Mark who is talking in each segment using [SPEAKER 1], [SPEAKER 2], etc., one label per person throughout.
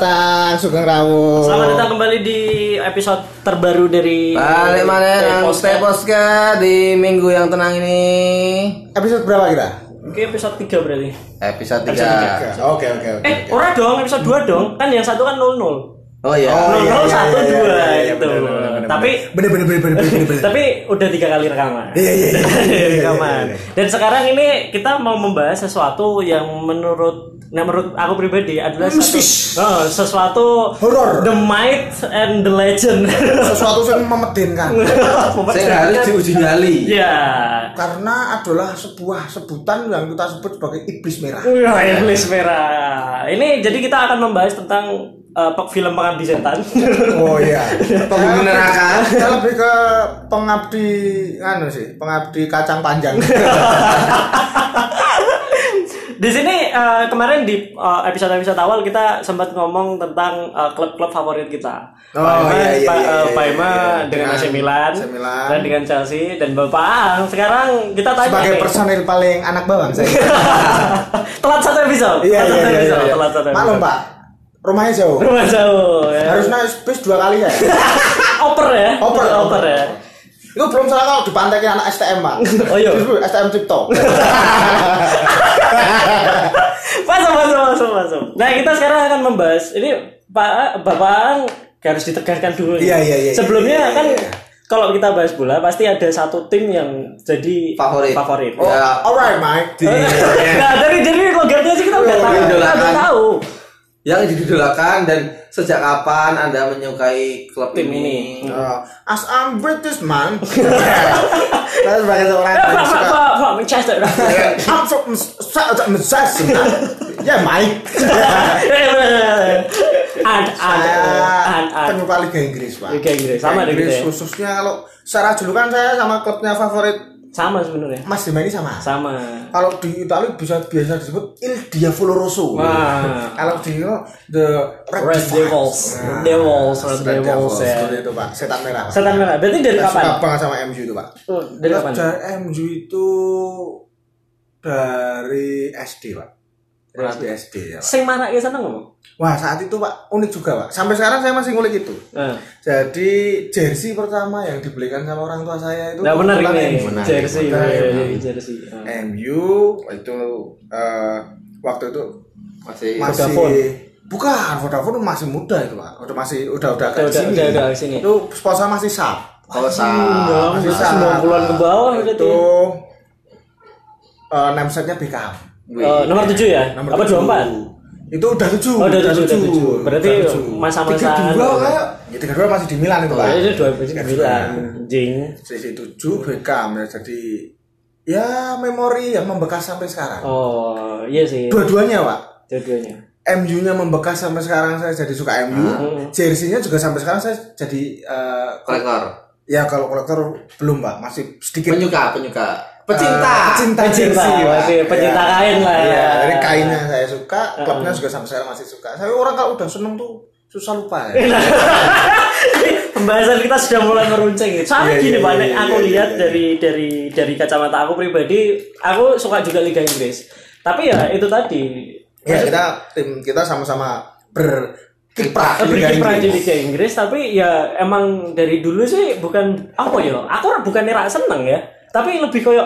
[SPEAKER 1] masuk Kang Rawo.
[SPEAKER 2] Selamat datang kembali di episode terbaru dari
[SPEAKER 3] Balik mana
[SPEAKER 2] dari
[SPEAKER 3] yang
[SPEAKER 2] Podcast.
[SPEAKER 3] Teposka di minggu yang tenang ini
[SPEAKER 1] Episode berapa kita?
[SPEAKER 2] Oke, episode 3 berarti.
[SPEAKER 3] Episode
[SPEAKER 1] Oke,
[SPEAKER 3] 3
[SPEAKER 1] Oke oke oke.
[SPEAKER 2] Eh,
[SPEAKER 1] oke.
[SPEAKER 2] ora dong, episode 2 dong. Kan yang satu kan 00. 00
[SPEAKER 3] Oh iya
[SPEAKER 1] Oh, iya, iya,
[SPEAKER 2] satu dua
[SPEAKER 1] iya, iya, iya,
[SPEAKER 2] gitu.
[SPEAKER 1] bener, bener, bener,
[SPEAKER 2] Tapi
[SPEAKER 1] bener bener bener bener bener bener.
[SPEAKER 2] tapi udah tiga kali rekaman.
[SPEAKER 1] Iya, iya, iya, iya, iya, iya,
[SPEAKER 2] Rekaman.
[SPEAKER 1] iya,
[SPEAKER 2] Dan sekarang ini kita mau membahas sesuatu yang menurut Nah, menurut aku pribadi adalah satu,
[SPEAKER 1] Mistis.
[SPEAKER 2] oh, sesuatu
[SPEAKER 1] Horor.
[SPEAKER 2] The Might and the Legend.
[SPEAKER 1] Sesuatu yang kan? memedinkan
[SPEAKER 3] Saya nggak harus diuji nyali
[SPEAKER 2] Ya.
[SPEAKER 1] karena adalah sebuah sebutan yang kita sebut sebagai iblis merah.
[SPEAKER 2] Wah, iblis merah. Ini jadi kita akan membahas tentang eh, pe- film pengabdi setan.
[SPEAKER 1] Oh iya.
[SPEAKER 3] Penghuni neraka.
[SPEAKER 1] Kita lebih ke pengabdi anu sih, pengabdi kacang panjang.
[SPEAKER 2] di sini eh, kemarin di eh, episode-episode awal kita sempat ngomong tentang eh, klub-klub favorit kita.
[SPEAKER 1] Oh,
[SPEAKER 2] Paema,
[SPEAKER 1] iya, iya,
[SPEAKER 2] Pa- eh,
[SPEAKER 1] iya, iya,
[SPEAKER 2] Paema
[SPEAKER 1] iya.
[SPEAKER 2] dengan AC
[SPEAKER 1] Dengan
[SPEAKER 2] Milan,
[SPEAKER 1] AC Milan.
[SPEAKER 2] dan dengan Chelsea dan Bapak Aang. Sekarang kita tanya
[SPEAKER 1] Sebagai
[SPEAKER 2] nih.
[SPEAKER 1] personil paling anak bawang saya.
[SPEAKER 2] telat satu episode.
[SPEAKER 1] Iya
[SPEAKER 2] telat satu
[SPEAKER 1] iya iya.
[SPEAKER 2] episode,
[SPEAKER 1] iya.
[SPEAKER 2] telat satu
[SPEAKER 1] Maklum
[SPEAKER 2] episode.
[SPEAKER 1] Pak, rumahnya jauh.
[SPEAKER 2] Rumah jauh. Ya.
[SPEAKER 1] Harus naik bis dua kali ya.
[SPEAKER 2] oper ya.
[SPEAKER 1] Oper,
[SPEAKER 2] oper ya.
[SPEAKER 1] Itu belum salah kalau dipantekin anak STM pak.
[SPEAKER 2] Oh, iya.
[SPEAKER 1] Justru STM Cipto.
[SPEAKER 2] masuk masuk masuk masuk nah kita sekarang akan membahas ini pak bapak Ang harus ditegaskan dulu nih.
[SPEAKER 1] Iya, iya, iya,
[SPEAKER 2] sebelumnya
[SPEAKER 1] iya, iya,
[SPEAKER 2] kan
[SPEAKER 1] iya.
[SPEAKER 2] kalau kita bahas bola pasti ada satu tim yang jadi
[SPEAKER 3] Favorit
[SPEAKER 2] favorit
[SPEAKER 3] Oh, Ya,
[SPEAKER 1] Alright Mike.
[SPEAKER 3] di-
[SPEAKER 2] nah dari jadi logatnya sih kita udah
[SPEAKER 1] Iya,
[SPEAKER 2] tahu
[SPEAKER 3] iya,
[SPEAKER 2] kita udah
[SPEAKER 3] kan.
[SPEAKER 2] tahu
[SPEAKER 3] Yang didolakan dan sejak kapan Anda menyukai klub
[SPEAKER 2] Tim
[SPEAKER 3] ini?
[SPEAKER 1] Eh, as I'm British man. Saya sebagai seorang
[SPEAKER 2] Eh, pak
[SPEAKER 1] yang
[SPEAKER 2] pak
[SPEAKER 1] suka.
[SPEAKER 2] pak pak Manchester
[SPEAKER 1] Eh, I'm from Manchester. Ya Mike. Iya.
[SPEAKER 2] an an an
[SPEAKER 1] Saya
[SPEAKER 2] an
[SPEAKER 1] penyuka Liga Inggris pak.
[SPEAKER 2] Liga uh, Inggris, sama
[SPEAKER 1] Liga
[SPEAKER 2] deh
[SPEAKER 1] Inggris
[SPEAKER 2] kita ya.
[SPEAKER 1] khususnya kalau secara julukan saya sama klubnya favorit
[SPEAKER 2] sama sebenarnya
[SPEAKER 1] Mas Dimani sama.
[SPEAKER 2] sama
[SPEAKER 1] Kalau di Italia bisa biasa disebut Il Diavolo Rosso.
[SPEAKER 2] Wah.
[SPEAKER 1] Kalau di Inggris, The Red,
[SPEAKER 2] Red Devils
[SPEAKER 1] Nah.
[SPEAKER 2] Devils Red
[SPEAKER 1] Red
[SPEAKER 2] Devils ya
[SPEAKER 1] seperti itu pak setan merah Pak.
[SPEAKER 2] setan merah berarti dari
[SPEAKER 1] Saya
[SPEAKER 2] kapan
[SPEAKER 1] suka banget sama MU itu pak
[SPEAKER 2] Oh, dari kapan
[SPEAKER 1] Dari MU itu dari SD pak dari SD ya pak
[SPEAKER 2] sing marak ya seneng ngomong
[SPEAKER 1] wah saat itu pak unik juga pak sampai sekarang saya masih ngulik itu jadi jersey pertama yang dibelikan sama orang tua saya itu
[SPEAKER 2] Nah menarik nih
[SPEAKER 1] kebetulan MU.
[SPEAKER 2] jersey,
[SPEAKER 1] Menarik,
[SPEAKER 2] iya,
[SPEAKER 1] menarik.
[SPEAKER 2] jersey. Ah.
[SPEAKER 1] MU itu eh, waktu itu
[SPEAKER 3] Masih
[SPEAKER 1] masih
[SPEAKER 2] Vodafone.
[SPEAKER 1] bukan Vodafone masih muda itu pak udah masih udah udah agak
[SPEAKER 2] Udah-
[SPEAKER 1] kesini.
[SPEAKER 2] udah- udah- udah kesini.
[SPEAKER 1] Eh, itu sponsor masih sab
[SPEAKER 3] kalau
[SPEAKER 2] Enggak,
[SPEAKER 3] sa
[SPEAKER 1] masih
[SPEAKER 2] enggak,
[SPEAKER 1] sama.
[SPEAKER 2] 90-an ke bawah berarti.
[SPEAKER 1] itu uh, namesnya Beckham
[SPEAKER 2] Eh, nomor 7 ya? Apa
[SPEAKER 1] tujuh.
[SPEAKER 2] 24?
[SPEAKER 1] itu udah tujuh
[SPEAKER 2] Oh, udah tujuh, udah
[SPEAKER 1] tujuh.
[SPEAKER 2] tujuh. Berarti
[SPEAKER 1] Udah tujuh.
[SPEAKER 2] masa-masaan.
[SPEAKER 1] tiga dua kayak ya tiga dua masih di Milan itu
[SPEAKER 2] Oh,
[SPEAKER 1] pak
[SPEAKER 2] itu 29 Jing.
[SPEAKER 1] sisi tujuh Beckham ya jadi ya memori yang membekas sampai sekarang
[SPEAKER 2] Oh, iya sih.
[SPEAKER 1] dua-duanya pak
[SPEAKER 2] Dua-duanya.
[SPEAKER 1] MU-nya membekas sampai sekarang saya jadi suka MU.
[SPEAKER 2] Ah.
[SPEAKER 1] Jersey-nya juga sampai sekarang saya jadi eh,
[SPEAKER 3] kolektor
[SPEAKER 1] ya kalau kolektor belum pak masih sedikit
[SPEAKER 3] penyuka penyuka
[SPEAKER 1] Eh,
[SPEAKER 3] pecinta
[SPEAKER 1] pecinta
[SPEAKER 2] Pecinta,
[SPEAKER 1] jersey, Pak.
[SPEAKER 2] masih pecinta
[SPEAKER 1] Iya.
[SPEAKER 2] kain lah,
[SPEAKER 1] Iya,
[SPEAKER 2] ya. Ah.
[SPEAKER 1] dari kainnya saya suka, klubnya juga sampai sekarang masih suka. Saya orang kalau udah seneng tuh susah lupa.
[SPEAKER 2] Iya.
[SPEAKER 1] Ya.
[SPEAKER 2] Pembahasan kita sudah mulai meruncing. Soalnya
[SPEAKER 1] Iya,
[SPEAKER 2] gini
[SPEAKER 1] iya,
[SPEAKER 2] Pak,
[SPEAKER 1] iya,
[SPEAKER 2] aku
[SPEAKER 1] iya,
[SPEAKER 2] lihat
[SPEAKER 1] iya,
[SPEAKER 2] dari dari dari kacamata aku pribadi, aku suka juga Liga Inggris. Tapi ya itu tadi.
[SPEAKER 1] ya kita tim kita sama-sama berkiprah Iya. di Liga
[SPEAKER 2] Ah, Berkiprah di
[SPEAKER 1] Inggris.
[SPEAKER 2] Liga Inggris tapi ya emang dari dulu sih bukan apa ya aku bukan rak seneng ya tapi lebih koyo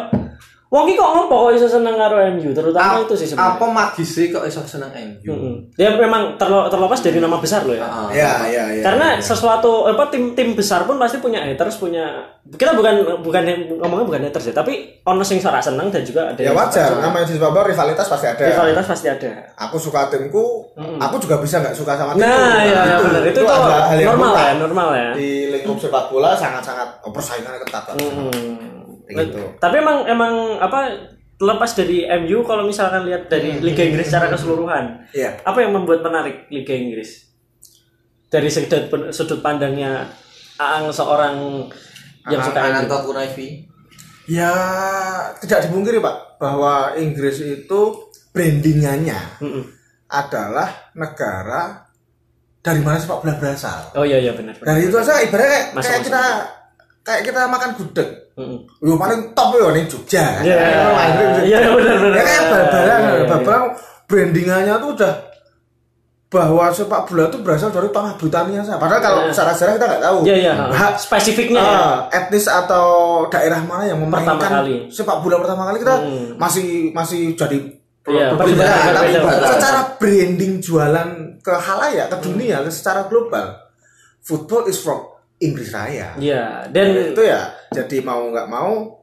[SPEAKER 2] wong iki kok ngopo kok iso seneng karo MU terutama itu sih
[SPEAKER 3] apa
[SPEAKER 2] sebenarnya
[SPEAKER 3] magis sih kok iso seneng MU?
[SPEAKER 2] Mm-mm. dia memang terlo- terlepas dari nama besar loh ya
[SPEAKER 3] Ah.
[SPEAKER 1] Ya, ya, ya.
[SPEAKER 2] karena sesuatu apa tim tim besar pun pasti punya haters punya kita bukan bukan ngomongnya bukan haters ya tapi ono sing ora seneng dan juga ada
[SPEAKER 1] ya
[SPEAKER 2] yang
[SPEAKER 1] wajar, namanya di sepak bola rivalitas pasti ada.
[SPEAKER 2] rivalitas pasti ada
[SPEAKER 1] Aku suka timku, aku juga bisa nggak suka sama timku.
[SPEAKER 2] nah ya, ya benar itu, tuh
[SPEAKER 1] adalah hal yang
[SPEAKER 2] normal
[SPEAKER 1] lumrah.
[SPEAKER 2] ya normal ya
[SPEAKER 1] Di lingkup sepak bola sangat-sangat oh, persaingannya ketat. Pak.
[SPEAKER 2] Mm.
[SPEAKER 1] Kayak
[SPEAKER 2] Nah,
[SPEAKER 1] gitu.
[SPEAKER 2] Hmm. Tapi emang emang apa lepas dari MU kalau misalkan lihat
[SPEAKER 1] Hmm.
[SPEAKER 2] dari Liga Inggris secara keseluruhan,
[SPEAKER 1] Iya.
[SPEAKER 2] apa yang membuat menarik Liga Inggris? Dari sudut sudut pandangnya Aang seorang yang suka MU.
[SPEAKER 3] Ananto Kunaifi
[SPEAKER 1] Ya tidak dipungkiri Pak bahwa Inggris itu brandingannya
[SPEAKER 2] Mm-mm.
[SPEAKER 1] adalah negara dari mana sepak bola berasal.
[SPEAKER 2] Oh iya iya benar. benar.
[SPEAKER 1] Dari itu saja ibaratnya kayak,
[SPEAKER 2] Masuk,
[SPEAKER 1] kayak
[SPEAKER 2] masuk.
[SPEAKER 1] kita kayak kita makan gudeg.
[SPEAKER 2] Mm-mm.
[SPEAKER 1] Yo paling top yo nih Jogja.
[SPEAKER 2] Iya
[SPEAKER 1] Ya, orang Inggris.
[SPEAKER 2] iya benar benar.
[SPEAKER 1] Ya kayak
[SPEAKER 2] Iya,
[SPEAKER 1] barang
[SPEAKER 2] iya, iya.
[SPEAKER 1] barang brandingannya tuh udah bahwa sepak bola itu berasal dari tanah Britania saja. Padahal kalau
[SPEAKER 2] Ya.
[SPEAKER 1] secara sejarah kita nggak tahu.
[SPEAKER 2] Iya iya.
[SPEAKER 1] Hak-
[SPEAKER 2] Spesifiknya ya.
[SPEAKER 1] Ah, etnis atau daerah mana yang memainkan
[SPEAKER 2] Pertama kali.
[SPEAKER 1] sepak bola pertama kali kita
[SPEAKER 2] Hmm.
[SPEAKER 1] masih masih jadi
[SPEAKER 2] Iya,
[SPEAKER 1] berbeda,
[SPEAKER 2] berbeda,
[SPEAKER 1] tapi
[SPEAKER 3] berbeda.
[SPEAKER 1] secara branding jualan ke halayak ke dunia
[SPEAKER 2] Hmm.
[SPEAKER 1] ke secara global football is from Inggris Raya
[SPEAKER 2] Iya, dan
[SPEAKER 1] itu ya jadi mau nggak mau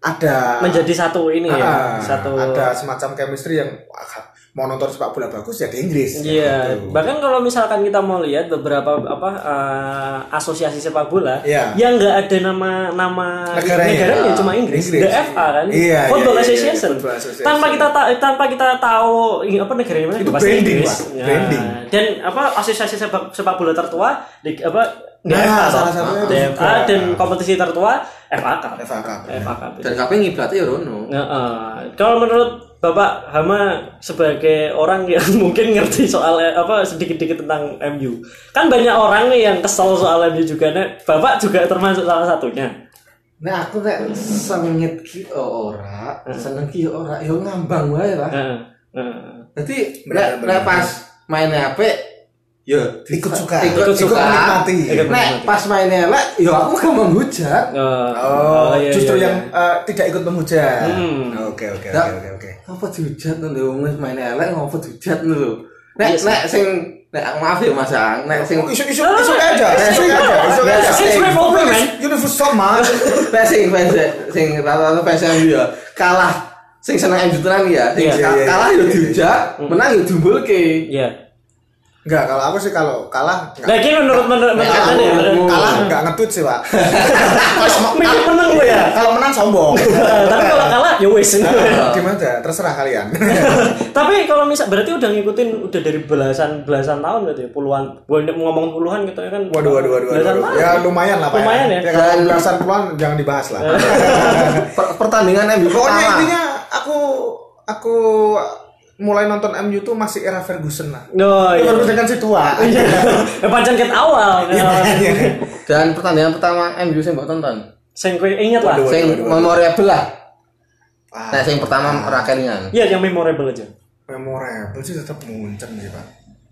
[SPEAKER 1] ada
[SPEAKER 2] menjadi satu ini
[SPEAKER 1] Ah,
[SPEAKER 2] ya, satu
[SPEAKER 1] ada semacam chemistry yang wah, mau nonton sepak bola bagus ya di Inggris
[SPEAKER 2] Iya,
[SPEAKER 1] Gitu.
[SPEAKER 2] bahkan kalau misalkan kita mau lihat beberapa apa eh, asosiasi sepak bola
[SPEAKER 1] Iya.
[SPEAKER 2] yang nggak ada nama nama
[SPEAKER 1] Negaranya.
[SPEAKER 2] negaranya cuma Inggris,
[SPEAKER 1] Inggris.
[SPEAKER 2] The FA kan,
[SPEAKER 1] Iya,
[SPEAKER 2] Football
[SPEAKER 1] iya, iya, iya,
[SPEAKER 2] Association.
[SPEAKER 1] Football Association.
[SPEAKER 2] Tanpa kita ta- tanpa kita tahu ini apa negaranya mana
[SPEAKER 1] Itu
[SPEAKER 2] pasti
[SPEAKER 1] branding,
[SPEAKER 2] Inggris. Nah,
[SPEAKER 1] Pak. Branding.
[SPEAKER 2] Dan apa asosiasi sepak, sepak bola tertua di apa
[SPEAKER 1] Nah,
[SPEAKER 2] DFA, toh.
[SPEAKER 1] salah satunya itu
[SPEAKER 2] DFA
[SPEAKER 1] juga.
[SPEAKER 2] dan kompetisi tertua FA Cup.
[SPEAKER 1] FA Cup.
[SPEAKER 2] FA Cup.
[SPEAKER 3] Dan kabeh ngiblatnya ya rono.
[SPEAKER 2] Nah, eh, kalau menurut Bapak Hama sebagai orang yang mungkin ngerti soal eh, apa sedikit-sedikit tentang MU. Kan banyak orang nih yang kesel soal MU juga. Nah, Bapak juga termasuk salah satunya.
[SPEAKER 3] Nah aku nek sengit ki ora, seneng ki ora, yo ngambang wae lah.
[SPEAKER 2] Heeh. heeh.
[SPEAKER 3] Nanti
[SPEAKER 1] Benar,
[SPEAKER 3] nek nek
[SPEAKER 1] benar.
[SPEAKER 3] pas main HP yo
[SPEAKER 1] ikut suka
[SPEAKER 3] ikut, suka.
[SPEAKER 1] menikmati
[SPEAKER 3] Nek
[SPEAKER 2] Ikut menikmati.
[SPEAKER 3] pas main elek yo aku gak menghujat.
[SPEAKER 2] Eh,
[SPEAKER 1] Oh,
[SPEAKER 2] iya,
[SPEAKER 1] justru
[SPEAKER 2] iya,
[SPEAKER 1] yang
[SPEAKER 2] iya.
[SPEAKER 1] eh, tidak ikut menghujat.
[SPEAKER 2] Hmm.
[SPEAKER 1] Oke, oke,
[SPEAKER 3] Nah.
[SPEAKER 1] oke, oke, oke.
[SPEAKER 3] Apa dihujat lho wong wis main elek ngopo dihujat lho. Nek nek sing nek maaf ya Mas Ang, nek sing
[SPEAKER 1] Isu, isu,
[SPEAKER 2] No, no,
[SPEAKER 1] isu
[SPEAKER 2] no,
[SPEAKER 1] aja,
[SPEAKER 2] it's-
[SPEAKER 1] isu aja, Eh, isu
[SPEAKER 2] it's-
[SPEAKER 1] aja.
[SPEAKER 2] it's my problem, man.
[SPEAKER 1] Universal man.
[SPEAKER 3] Nah, sing fans sing rata-rata fans MU ya kalah sing seneng MU tenan ya. Sing
[SPEAKER 2] Iya,
[SPEAKER 3] ka-
[SPEAKER 1] iya, iya,
[SPEAKER 3] kalah
[SPEAKER 1] iya,
[SPEAKER 3] yo
[SPEAKER 1] iya.
[SPEAKER 3] dihujat, menang yo diumbulke.
[SPEAKER 2] Iya.
[SPEAKER 1] Enggak, kalau aku sih kalau kalah
[SPEAKER 2] Nah,
[SPEAKER 1] enggak.
[SPEAKER 2] ini menurut menurut menurut
[SPEAKER 1] Kalah,
[SPEAKER 2] Anda ya, menurut-
[SPEAKER 1] kalah enggak nge-tweet sih, Pak. Kalau sem-
[SPEAKER 2] Mikir menang gue ya.
[SPEAKER 1] Kalau menang sombong. Nah,
[SPEAKER 2] Eh, tapi kalau kalah ya wes.
[SPEAKER 1] Gimana aja, terserah kalian.
[SPEAKER 2] tapi kalau misal berarti udah ngikutin udah dari belasan belasan tahun berarti ya, puluhan. Gua ngomong puluhan gitu ya kan.
[SPEAKER 1] Waduh, waduh, waduh,
[SPEAKER 2] Belasan
[SPEAKER 1] waduh.
[SPEAKER 2] tahun.
[SPEAKER 1] Ya lumayan lah, Pak.
[SPEAKER 2] Lumayan ya. Eh.
[SPEAKER 1] Ya kalau belasan puluhan jangan dibahas lah.
[SPEAKER 3] Per- pertandingan MU
[SPEAKER 1] Pokoknya
[SPEAKER 3] kalah.
[SPEAKER 1] intinya aku aku mulai nonton MU tuh masih era Ferguson lah.
[SPEAKER 2] Oh, iya.
[SPEAKER 1] Ferguson kan si tua.
[SPEAKER 2] ya pancen ket awal kan?
[SPEAKER 1] Iya.
[SPEAKER 3] Dan pertandingan pertama MU sing mbok tonton.
[SPEAKER 2] sing kowe inget lah
[SPEAKER 1] Waduh.
[SPEAKER 3] Sing memorable lah.
[SPEAKER 1] Ah,
[SPEAKER 3] Nah, sing pertama ora kelingan.
[SPEAKER 2] iya yang memorable aja
[SPEAKER 1] Memorable sih tetap muncen sih pak.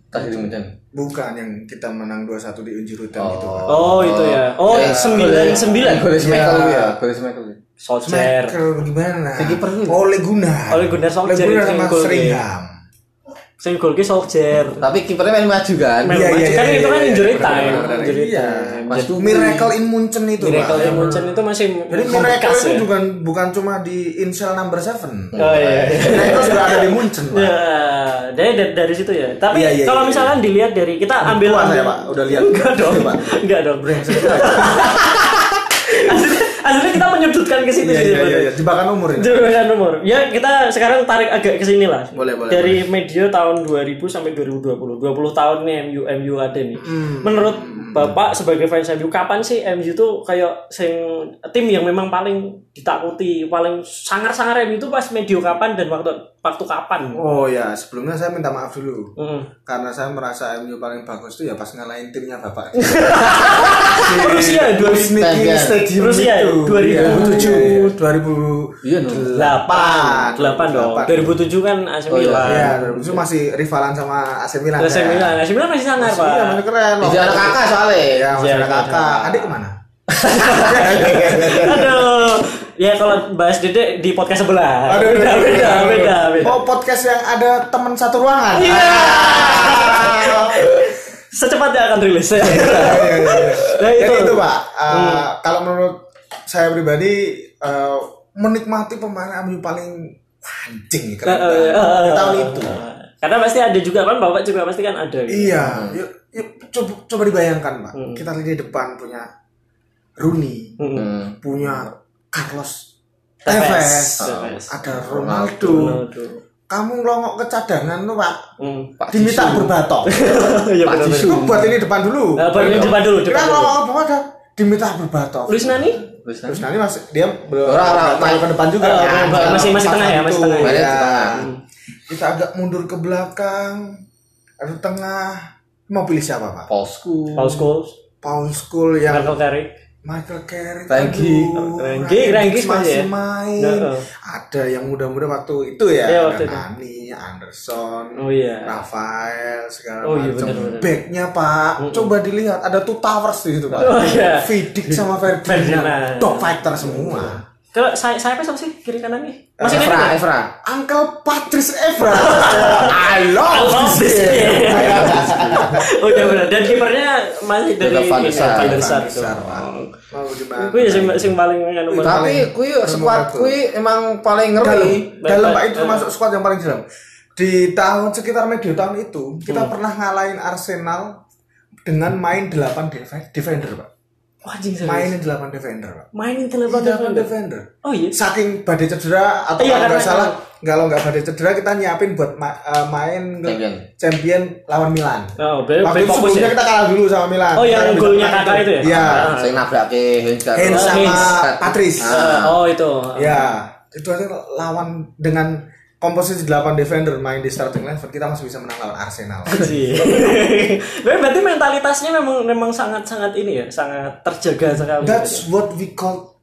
[SPEAKER 3] Tas di Munchen.
[SPEAKER 1] Bukan yang kita menang 2-1 di Unji Rutan itu pak.
[SPEAKER 2] oh, itu ya oh
[SPEAKER 3] Ya,
[SPEAKER 2] sembilan sembilan
[SPEAKER 3] Golis
[SPEAKER 1] Iya.
[SPEAKER 3] Michael ya, Golis Michael.
[SPEAKER 2] Oh, Solskjaer
[SPEAKER 1] Michael gimana?
[SPEAKER 3] Si kiper itu.
[SPEAKER 1] Oleh Gunnar.
[SPEAKER 2] Ole Gunnar Solskjaer
[SPEAKER 1] Ole Gunnar
[SPEAKER 2] itu yang
[SPEAKER 1] sama
[SPEAKER 2] golnya.
[SPEAKER 1] Seringham.
[SPEAKER 2] sing gol ki
[SPEAKER 1] Iya,
[SPEAKER 2] Solskjaer
[SPEAKER 3] Tapi kipernya main maju kan.
[SPEAKER 2] Mel- Iya, iya, kan itu kan injury time. Injury
[SPEAKER 1] Iya.
[SPEAKER 2] time.
[SPEAKER 1] Mas
[SPEAKER 3] Jadi-
[SPEAKER 1] Miracle in Munchen itu pak.
[SPEAKER 2] Miracle yang Munchen itu masih
[SPEAKER 1] Jadi Miracle
[SPEAKER 2] membekas
[SPEAKER 1] itu
[SPEAKER 2] ya.
[SPEAKER 1] bukan bukan cuma di Insel number 7
[SPEAKER 2] oh iya
[SPEAKER 1] Miracle sudah ada di Munchen pak.
[SPEAKER 2] Ya, dari, dari dari situ ya. Tapi
[SPEAKER 1] Iya, iya,
[SPEAKER 2] kalau
[SPEAKER 1] iya,
[SPEAKER 2] misalkan dilihat dari kita ambil
[SPEAKER 1] Tua saya
[SPEAKER 2] ambil-
[SPEAKER 1] pak. Udah lihat.
[SPEAKER 2] Enggak dong,
[SPEAKER 1] Pak.
[SPEAKER 2] enggak dong. Aslinya, aslinya kita menyudutkan ke situ
[SPEAKER 1] Iya
[SPEAKER 2] sih
[SPEAKER 1] iya iya.
[SPEAKER 2] sebenarnya.
[SPEAKER 1] iya. Jebakan umur ini.
[SPEAKER 2] Jerogan umur. Ya kita sekarang tarik agak ke sini lah.
[SPEAKER 3] Boleh, boleh,
[SPEAKER 2] Dari media tahun 2000 sampai 2020. 20 tahun nih MU MU ada nih. Menurut Bapak sebagai fans MU kapan sih MU tuh kayak sing tim yang memang paling ditakuti, paling sangar-sangar MU itu pas medio kapan dan waktu waktu kapan? Hmm.
[SPEAKER 1] Oh ya sebelumnya saya minta maaf dulu.
[SPEAKER 2] Heeh.
[SPEAKER 1] karena saya merasa MU paling bagus itu ya pas ngalahin timnya bapak
[SPEAKER 2] Rusia
[SPEAKER 1] dua Mickey
[SPEAKER 3] Stadium.
[SPEAKER 1] Stadium
[SPEAKER 2] Rusia,
[SPEAKER 1] itu
[SPEAKER 2] 2007,
[SPEAKER 1] 2007
[SPEAKER 3] Iya, no.
[SPEAKER 1] 2008
[SPEAKER 2] 8 dong. 2007 kan AC
[SPEAKER 3] Oh, iya.
[SPEAKER 2] Milan.
[SPEAKER 1] ya 2007 masih rivalan sama AC Milan
[SPEAKER 2] AC
[SPEAKER 1] kan?
[SPEAKER 2] Milan, AC Milan Nah, masih sangar,
[SPEAKER 1] iya
[SPEAKER 2] Pak.
[SPEAKER 1] masih keren
[SPEAKER 3] Di jalan kakak soalnya.
[SPEAKER 1] ya masih
[SPEAKER 2] Iya,
[SPEAKER 1] ada kakak adik kemana
[SPEAKER 2] Aduh. Ya kalau bahas Dede di podcast sebelah.
[SPEAKER 1] Aduh,
[SPEAKER 2] beda,
[SPEAKER 1] aduh,
[SPEAKER 2] beda,
[SPEAKER 1] aduh.
[SPEAKER 2] beda, beda.
[SPEAKER 1] oh podcast yang ada teman satu ruangan
[SPEAKER 2] Iya.
[SPEAKER 1] Ah.
[SPEAKER 2] Secepatnya akan rilis. ya.
[SPEAKER 1] Iya, iya, iya.
[SPEAKER 2] Nah, itu.
[SPEAKER 1] Jadi itu pak, Eh, kalau menurut saya pribadi eh, menikmati pemain MU paling anjing nih keren
[SPEAKER 2] Eh, eh,
[SPEAKER 1] banget.
[SPEAKER 2] eh,
[SPEAKER 1] tahun
[SPEAKER 2] eh,
[SPEAKER 1] itu.
[SPEAKER 2] eh. Karena pasti ada juga kan Bapak juga pasti kan ada. gitu.
[SPEAKER 1] Iya, yuk- yuk, coba, coba dibayangkan pak, kita lihat di depan punya Rooney,
[SPEAKER 2] Mm.
[SPEAKER 3] Hmm.
[SPEAKER 1] punya Carlos
[SPEAKER 2] Tevez.
[SPEAKER 1] Tevez,
[SPEAKER 2] Tevez.
[SPEAKER 1] ada Ronaldo.
[SPEAKER 2] Ronaldo.
[SPEAKER 1] Kamu longok ke cadangan tuh pak,
[SPEAKER 2] Mm.
[SPEAKER 3] Pak
[SPEAKER 1] diminta
[SPEAKER 3] Jisoo.
[SPEAKER 1] berbatok.
[SPEAKER 2] Iya
[SPEAKER 3] Pak
[SPEAKER 2] benar.
[SPEAKER 3] Jisoo.
[SPEAKER 1] Itu buat ini depan dulu.
[SPEAKER 2] Nah, Pak, ini depan dulu,
[SPEAKER 1] Kita
[SPEAKER 2] depan dulu.
[SPEAKER 1] longok ke bawah dah, diminta berbatok.
[SPEAKER 2] Luis Nani?
[SPEAKER 3] Terus
[SPEAKER 1] Terus nanti mas dia belum
[SPEAKER 3] Orang- orang
[SPEAKER 1] taruh ke depan juga
[SPEAKER 2] Oh,
[SPEAKER 1] kan?
[SPEAKER 2] orang- orang- masih- masih
[SPEAKER 1] Pas
[SPEAKER 2] tengah ya,
[SPEAKER 1] itu,
[SPEAKER 2] masih tengah.
[SPEAKER 1] ya.
[SPEAKER 3] Iya, tengah.
[SPEAKER 1] Kita agak mundur ke belakang, ada tengah. Mau pilih siapa pak?
[SPEAKER 3] Polsku.
[SPEAKER 2] Paul Scholes,
[SPEAKER 1] Paul School yang
[SPEAKER 2] Michael Carrick.
[SPEAKER 1] Michael Carrick,
[SPEAKER 3] Renggi.
[SPEAKER 1] aduh,
[SPEAKER 2] Renggi, Renggi
[SPEAKER 1] Rangnick masih
[SPEAKER 2] sebenarnya ya.
[SPEAKER 1] main.
[SPEAKER 2] Heeh.
[SPEAKER 1] Ada yang muda-muda waktu itu
[SPEAKER 2] Iya,
[SPEAKER 1] ya, ada
[SPEAKER 2] waktu itu.
[SPEAKER 1] Nani, Anderson,
[SPEAKER 2] Oh iya.
[SPEAKER 1] Rafael segala
[SPEAKER 2] Oh, iya,
[SPEAKER 1] macam.
[SPEAKER 2] benar-benar.
[SPEAKER 1] Backnya Pak, coba dilihat ada two towers di situ Pak.
[SPEAKER 2] Oh, iya.
[SPEAKER 1] Vidic sama Ferdinand,
[SPEAKER 2] Ferdinand.
[SPEAKER 1] top fighter semua.
[SPEAKER 2] Kalau saya saya apa sih kiri kanan nih? Masih
[SPEAKER 3] Evra,
[SPEAKER 2] ini.
[SPEAKER 3] Evra.
[SPEAKER 1] Uncle Patrice Evra, I love,
[SPEAKER 2] love this
[SPEAKER 1] this game.
[SPEAKER 3] iya.
[SPEAKER 2] game. Oh iya benar. Dan kipernya masih dari
[SPEAKER 3] Dari Van der Sar.
[SPEAKER 2] Van der Sar.
[SPEAKER 1] Van der Sar, Pak. Mau gimana?
[SPEAKER 2] Itu ya sing sing paling anu banget.
[SPEAKER 3] Tapi kui squad kui emang paling
[SPEAKER 1] dalam
[SPEAKER 3] ngeri.
[SPEAKER 1] dalam pak
[SPEAKER 2] Baik-baik.
[SPEAKER 1] itu masuk squad yang paling dalam di tahun sekitar medio tahun itu kita
[SPEAKER 2] Hmm.
[SPEAKER 1] pernah ngalahin Arsenal dengan main 8 defe- defender pak
[SPEAKER 2] Wah, anjing serius.
[SPEAKER 1] mainin 8 defender pak
[SPEAKER 2] mainin
[SPEAKER 1] 8
[SPEAKER 2] telepon telepon.
[SPEAKER 1] defender
[SPEAKER 2] Oh iya.
[SPEAKER 1] saking badai cedera atau
[SPEAKER 2] Iya,
[SPEAKER 1] kalau nggak
[SPEAKER 2] karena-
[SPEAKER 1] salah kalau nggak badai cedera kita nyiapin buat ma- eh, main ke-
[SPEAKER 3] Champion.
[SPEAKER 1] champion lawan Milan
[SPEAKER 2] Oh, be be
[SPEAKER 1] waktu itu
[SPEAKER 2] fokus
[SPEAKER 1] sebelumnya
[SPEAKER 2] ya.
[SPEAKER 1] kita kalah dulu sama Milan
[SPEAKER 2] Oh, yang
[SPEAKER 1] Kita bisa
[SPEAKER 2] golnya
[SPEAKER 1] menang
[SPEAKER 2] Kakak itu ya?
[SPEAKER 1] iya
[SPEAKER 2] Ah.
[SPEAKER 3] Saya nabrak ke Hens
[SPEAKER 1] Hens
[SPEAKER 2] Oh,
[SPEAKER 1] sama
[SPEAKER 3] Hens.
[SPEAKER 1] Patrice
[SPEAKER 2] Eh, Oh itu.
[SPEAKER 1] Ya, itu aja lawan dengan komposisi 8 defender main di starting level kita masih bisa menang lawan Arsenal.
[SPEAKER 2] Anjing. Tapi berarti mentalitasnya memang memang sangat-sangat ini ya, sangat terjaga sekali.
[SPEAKER 1] That's what we call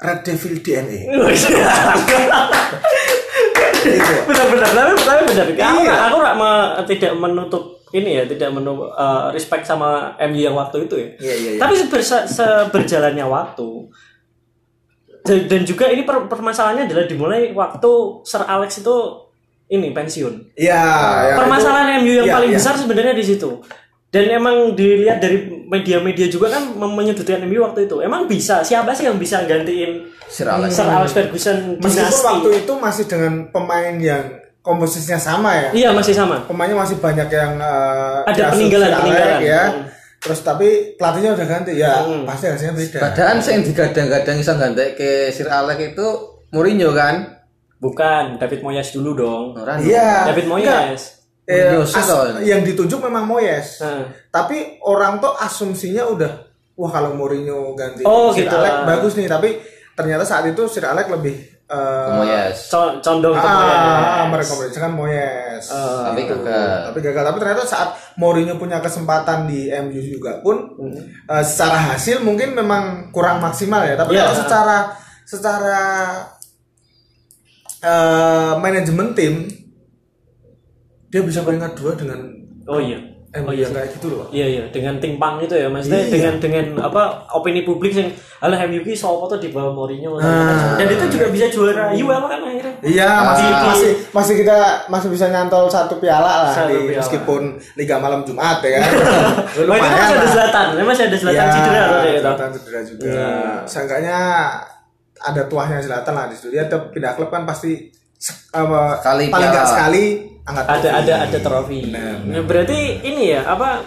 [SPEAKER 1] Red Devil DNA. Itu.
[SPEAKER 2] benar-benar tapi tapi benar aku
[SPEAKER 1] Iya.
[SPEAKER 2] nggak- aku nggak me- tidak menutup ini ya tidak menutup eh, respect sama MU yang waktu itu ya
[SPEAKER 1] Iya, iya, iya.
[SPEAKER 2] tapi sebersa- seberjalannya waktu dan, dan juga ini per- permasalahannya adalah dimulai waktu Sir Alex itu ini pensiun
[SPEAKER 1] Ya, ya,
[SPEAKER 2] permasalahan MU yang
[SPEAKER 1] iya,
[SPEAKER 2] paling
[SPEAKER 1] iya.
[SPEAKER 2] besar sebenarnya di situ dan emang dilihat dari media-media juga kan mem- menyudutkan MU waktu itu emang bisa siapa sih yang bisa gantiin
[SPEAKER 3] Sir Alex.
[SPEAKER 2] Sir Alex Ferguson
[SPEAKER 1] itu. Hmm. Meskipun
[SPEAKER 2] dinasti?
[SPEAKER 1] waktu itu masih dengan pemain yang komposisinya sama ya.
[SPEAKER 2] iya masih sama
[SPEAKER 1] Pemainnya masih banyak yang eh,
[SPEAKER 2] Ada
[SPEAKER 1] diasuh
[SPEAKER 2] peninggalan,
[SPEAKER 1] si Alec,
[SPEAKER 2] peninggalan.
[SPEAKER 1] ya.
[SPEAKER 2] Hmm.
[SPEAKER 1] Terus tapi pelatihnya udah ganti ya,
[SPEAKER 2] Hmm.
[SPEAKER 1] pasti hasilnya beda.
[SPEAKER 3] Padahal sing digadang-gadang iso gantek ke Sir Alex itu Mourinho kan?
[SPEAKER 2] Bukan, David Moyes dulu dong.
[SPEAKER 3] Ora
[SPEAKER 1] Iya.
[SPEAKER 2] David
[SPEAKER 1] Enggak,
[SPEAKER 2] Moyes.
[SPEAKER 1] Eh,
[SPEAKER 3] Mourinho sih
[SPEAKER 1] as-
[SPEAKER 3] toh.
[SPEAKER 1] yang ditunjuk memang Moyes.
[SPEAKER 2] Heeh.
[SPEAKER 1] Tapi orang tuh asumsinya udah wah kalau Mourinho ganti
[SPEAKER 2] Oh,
[SPEAKER 1] Sir
[SPEAKER 2] gitu.
[SPEAKER 1] Alex bagus nih, tapi ternyata saat itu Sir Alex lebih eh,
[SPEAKER 3] Moyes.
[SPEAKER 2] Co- condong ke Moyes.
[SPEAKER 1] Ah, merekomendasikan Moyes. Gitu.
[SPEAKER 2] Eh,
[SPEAKER 3] Tapi gagal.
[SPEAKER 1] tapi gagal. Tapi ternyata saat Mourinho punya kesempatan di MU juga pun
[SPEAKER 3] Hmm.
[SPEAKER 1] eh, secara hasil mungkin memang kurang maksimal ya. Tapi
[SPEAKER 2] Iya.
[SPEAKER 1] kalau secara secara eh, manajemen tim dia bisa peringkat dua dengan
[SPEAKER 2] Oh iya.
[SPEAKER 1] MU
[SPEAKER 2] Oh iya.
[SPEAKER 1] yang kayak gitu loh.
[SPEAKER 2] Iya iya, dengan timpang itu ya maksudnya
[SPEAKER 1] Iya.
[SPEAKER 2] dengan dengan apa opini publik yang alah MU ki sopo tuh di bawah Mourinho
[SPEAKER 1] Ah.
[SPEAKER 2] dan itu juga bisa juara UEL kan akhirnya.
[SPEAKER 1] Iya, masih,
[SPEAKER 2] Di-
[SPEAKER 1] masih masih kita masih bisa nyantol satu piala lah
[SPEAKER 2] Satu
[SPEAKER 1] di-
[SPEAKER 2] piala.
[SPEAKER 1] meskipun Liga Malam Jumat ya kan.
[SPEAKER 2] Wah, itu masih ada selatan, masih ada selatan cedera tuh kayak gitu.
[SPEAKER 1] Selatan Iya, cedera juga. Sangkanya ada tuahnya Selatan lah di situ. Dia tiap pindah klub kan pasti se- apa,
[SPEAKER 3] Sekali
[SPEAKER 1] paling
[SPEAKER 3] piala.
[SPEAKER 1] nggak sekali angkat
[SPEAKER 2] ada
[SPEAKER 1] trofi.
[SPEAKER 2] ada ada trofi.
[SPEAKER 1] Benar.
[SPEAKER 2] Nah, berarti ini ya apa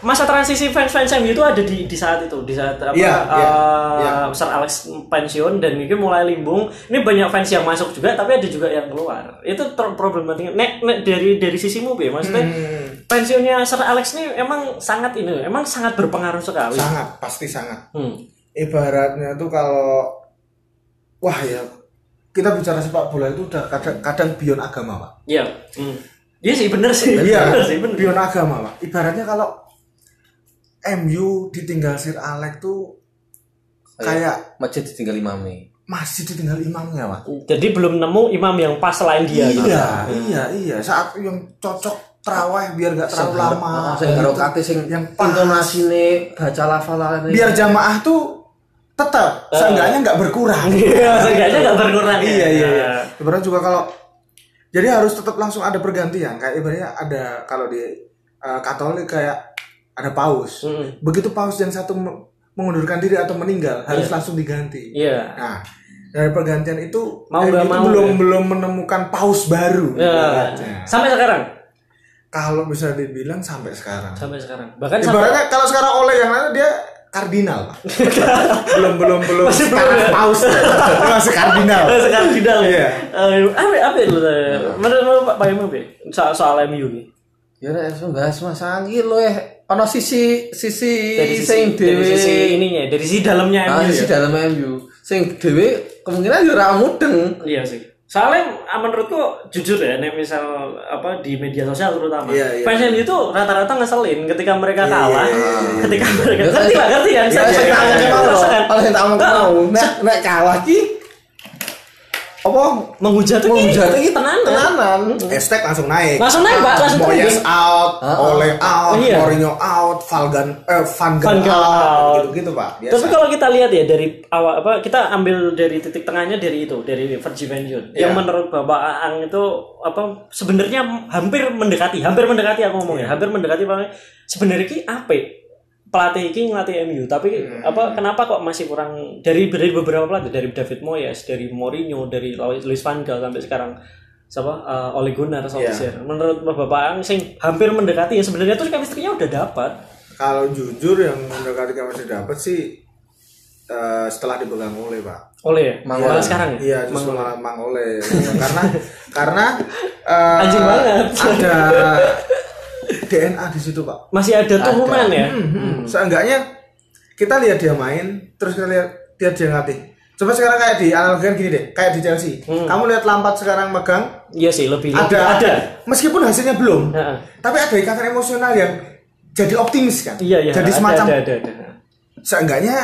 [SPEAKER 2] masa transisi fans-fans MU itu ada di di saat itu di saat apa
[SPEAKER 1] Iya, iya,
[SPEAKER 2] eh,
[SPEAKER 1] iya.
[SPEAKER 2] Sir Alex pensiun dan mungkin mulai limbung ini banyak fans yang masuk juga tapi ada juga yang keluar itu ter- problematiknya nek, nek dari dari sisimu ya maksudnya
[SPEAKER 1] Hmm.
[SPEAKER 2] pensiunnya Sir Alex ini emang sangat ini emang sangat berpengaruh sekali
[SPEAKER 1] Sangat, pasti sangat.
[SPEAKER 2] Hmm.
[SPEAKER 1] Ibaratnya tuh kalau wah ya kita bicara sepak bola itu udah kadang, kadang beyond agama, Pak.
[SPEAKER 2] iya Hmm. iya sih bener sih
[SPEAKER 1] Iya,
[SPEAKER 2] bener sih bener
[SPEAKER 1] pion agama pak. Ibaratnya kalau MU ditinggal Sir Alex tuh kayak
[SPEAKER 3] Masjid ditinggal imame.
[SPEAKER 1] masih ditinggal imamnya pak.
[SPEAKER 2] jadi belum nemu imam yang pas selain dia gitu.
[SPEAKER 1] iya, iya, iya. Saat yang cocok terawih biar nggak terlalu lama.
[SPEAKER 3] Ah, Sing
[SPEAKER 1] gitu.
[SPEAKER 3] harokate sing
[SPEAKER 1] yang pas.
[SPEAKER 3] intonasine baca lafalane.
[SPEAKER 1] Biar jamaah tuh tetap seenggaknya nggak berkurang.
[SPEAKER 2] Iya, seenggaknya nggak berkurang. ya.
[SPEAKER 1] iya iya iya ibaratnya juga kalau jadi harus tetap langsung ada pergantian kayak ibaratnya ada kalau di eh, Katolik kayak ada paus
[SPEAKER 2] Mm.
[SPEAKER 1] begitu paus yang satu me- mengundurkan diri atau meninggal harus langsung diganti
[SPEAKER 2] Iya.
[SPEAKER 1] nah dari pergantian itu
[SPEAKER 2] Mau
[SPEAKER 1] eh,
[SPEAKER 2] nggak
[SPEAKER 1] itu
[SPEAKER 2] mau,
[SPEAKER 1] belum
[SPEAKER 2] ya?
[SPEAKER 1] belum menemukan paus baru
[SPEAKER 2] Ya.
[SPEAKER 1] ibaratnya.
[SPEAKER 2] Sampai sekarang.
[SPEAKER 1] kalau bisa dibilang sampai sekarang
[SPEAKER 2] Sampai sekarang. Bahkan sampai
[SPEAKER 1] ibaratnya kalau sekarang oleh yang lain dia kardinal Pak. belum belum belum
[SPEAKER 2] Masih belum,
[SPEAKER 1] kan sekarang
[SPEAKER 2] ya?
[SPEAKER 1] paus Dia masih kardinal
[SPEAKER 2] sampai sekarang tidak ya.
[SPEAKER 1] Iya.
[SPEAKER 2] Eh, Apa apa itu? eh, Menurut Pak Pak Imu Be? soal soal MU nih.
[SPEAKER 3] Ya nek iso bahas masang iki lho eh ana sisi sisi
[SPEAKER 1] Iya,
[SPEAKER 2] Dari
[SPEAKER 3] sing
[SPEAKER 2] sisi, dari sisi
[SPEAKER 3] dhewe.
[SPEAKER 2] ininya, dari sisi dalamnya
[SPEAKER 3] Ah
[SPEAKER 2] MU.
[SPEAKER 3] sisi
[SPEAKER 2] ya.
[SPEAKER 3] dalam MU. Sing dhewe kemungkinan ya ora mudeng.
[SPEAKER 2] Iya sih. Soalnya ah, menurutku jujur ya, nek misal apa di media sosial terutama,
[SPEAKER 1] Iya, iya.
[SPEAKER 2] fans MU itu rata-rata ngeselin ketika mereka
[SPEAKER 1] Iya,
[SPEAKER 2] kalah,
[SPEAKER 1] iya, iya, iya.
[SPEAKER 2] ketika mereka
[SPEAKER 3] Biasanya-
[SPEAKER 2] ngerti lah, ngerti kan?
[SPEAKER 3] Ya,
[SPEAKER 2] Saya
[SPEAKER 3] sing
[SPEAKER 1] iya, iya,
[SPEAKER 3] tak
[SPEAKER 1] iya,
[SPEAKER 3] anggap
[SPEAKER 1] iya. Ah.
[SPEAKER 2] merasakan.
[SPEAKER 3] mau, paling tak anggap
[SPEAKER 2] Nah,
[SPEAKER 3] mau. Nek nek kalah ki apa
[SPEAKER 2] Menghujat itu
[SPEAKER 3] menghujat ki
[SPEAKER 2] tenan.
[SPEAKER 3] tenanan.
[SPEAKER 1] Hashtag langsung naik.
[SPEAKER 2] Langsung naik, Pak, langsung
[SPEAKER 1] Moyes
[SPEAKER 2] trending.
[SPEAKER 1] out,
[SPEAKER 3] Ah, ah.
[SPEAKER 1] Ole out,
[SPEAKER 2] Iya.
[SPEAKER 1] Mourinho out, Valgan, eh, Van Gaal
[SPEAKER 2] Van Gaal out.
[SPEAKER 1] out, gitu-gitu Pak. Biasa.
[SPEAKER 2] Tapi kalau kita lihat ya dari awal apa kita ambil dari titik tengahnya dari itu dari Virgil van Dijk. yang
[SPEAKER 1] Iya.
[SPEAKER 2] menurut Bapak Aang itu apa sebenarnya hampir mendekati hampir mendekati aku ngomongnya
[SPEAKER 1] Iya.
[SPEAKER 2] hampir mendekati paling sebenarnya ki apa ya? pelatih ini ngelatih MU tapi
[SPEAKER 1] Hmm.
[SPEAKER 2] apa kenapa kok masih kurang dari dari beberapa pelatih dari David Moyes dari Mourinho dari Luis Van Gaal sampai sekarang siapa Eh, Ole Gunnar
[SPEAKER 1] Iya.
[SPEAKER 2] Solskjaer menurut Bapak Aang sing hampir mendekati ya sebenarnya tuh chemistry-nya udah dapat
[SPEAKER 1] Kalau jujur yang mendekati kami masih dapat sih eh, setelah dipegang oleh Pak.
[SPEAKER 2] oleh ya?
[SPEAKER 3] Mang Ole.
[SPEAKER 2] Malah sekarang ya
[SPEAKER 1] Iya, justru malah Mang Ole. karena karena eh,
[SPEAKER 2] Anjing banget.
[SPEAKER 1] Ada DNA di situ, Pak.
[SPEAKER 2] masih ada turunan ya
[SPEAKER 1] Hmm. Seenggaknya kita lihat dia main, terus kita lihat lihat dia ngelatih. Coba sekarang kayak di analogikan gini deh, kayak di Chelsea. Kamu lihat Lampard sekarang megang,
[SPEAKER 2] Hmm. iya sih lebih
[SPEAKER 1] ada,
[SPEAKER 2] lebih- ada
[SPEAKER 1] Meskipun hasilnya belum,
[SPEAKER 2] Heeh.
[SPEAKER 1] tapi ada ikatan emosional yang jadi optimis kan.
[SPEAKER 2] iya iya
[SPEAKER 1] jadi
[SPEAKER 2] ada,
[SPEAKER 1] semacam
[SPEAKER 2] ada, ada, ada.
[SPEAKER 1] seenggaknya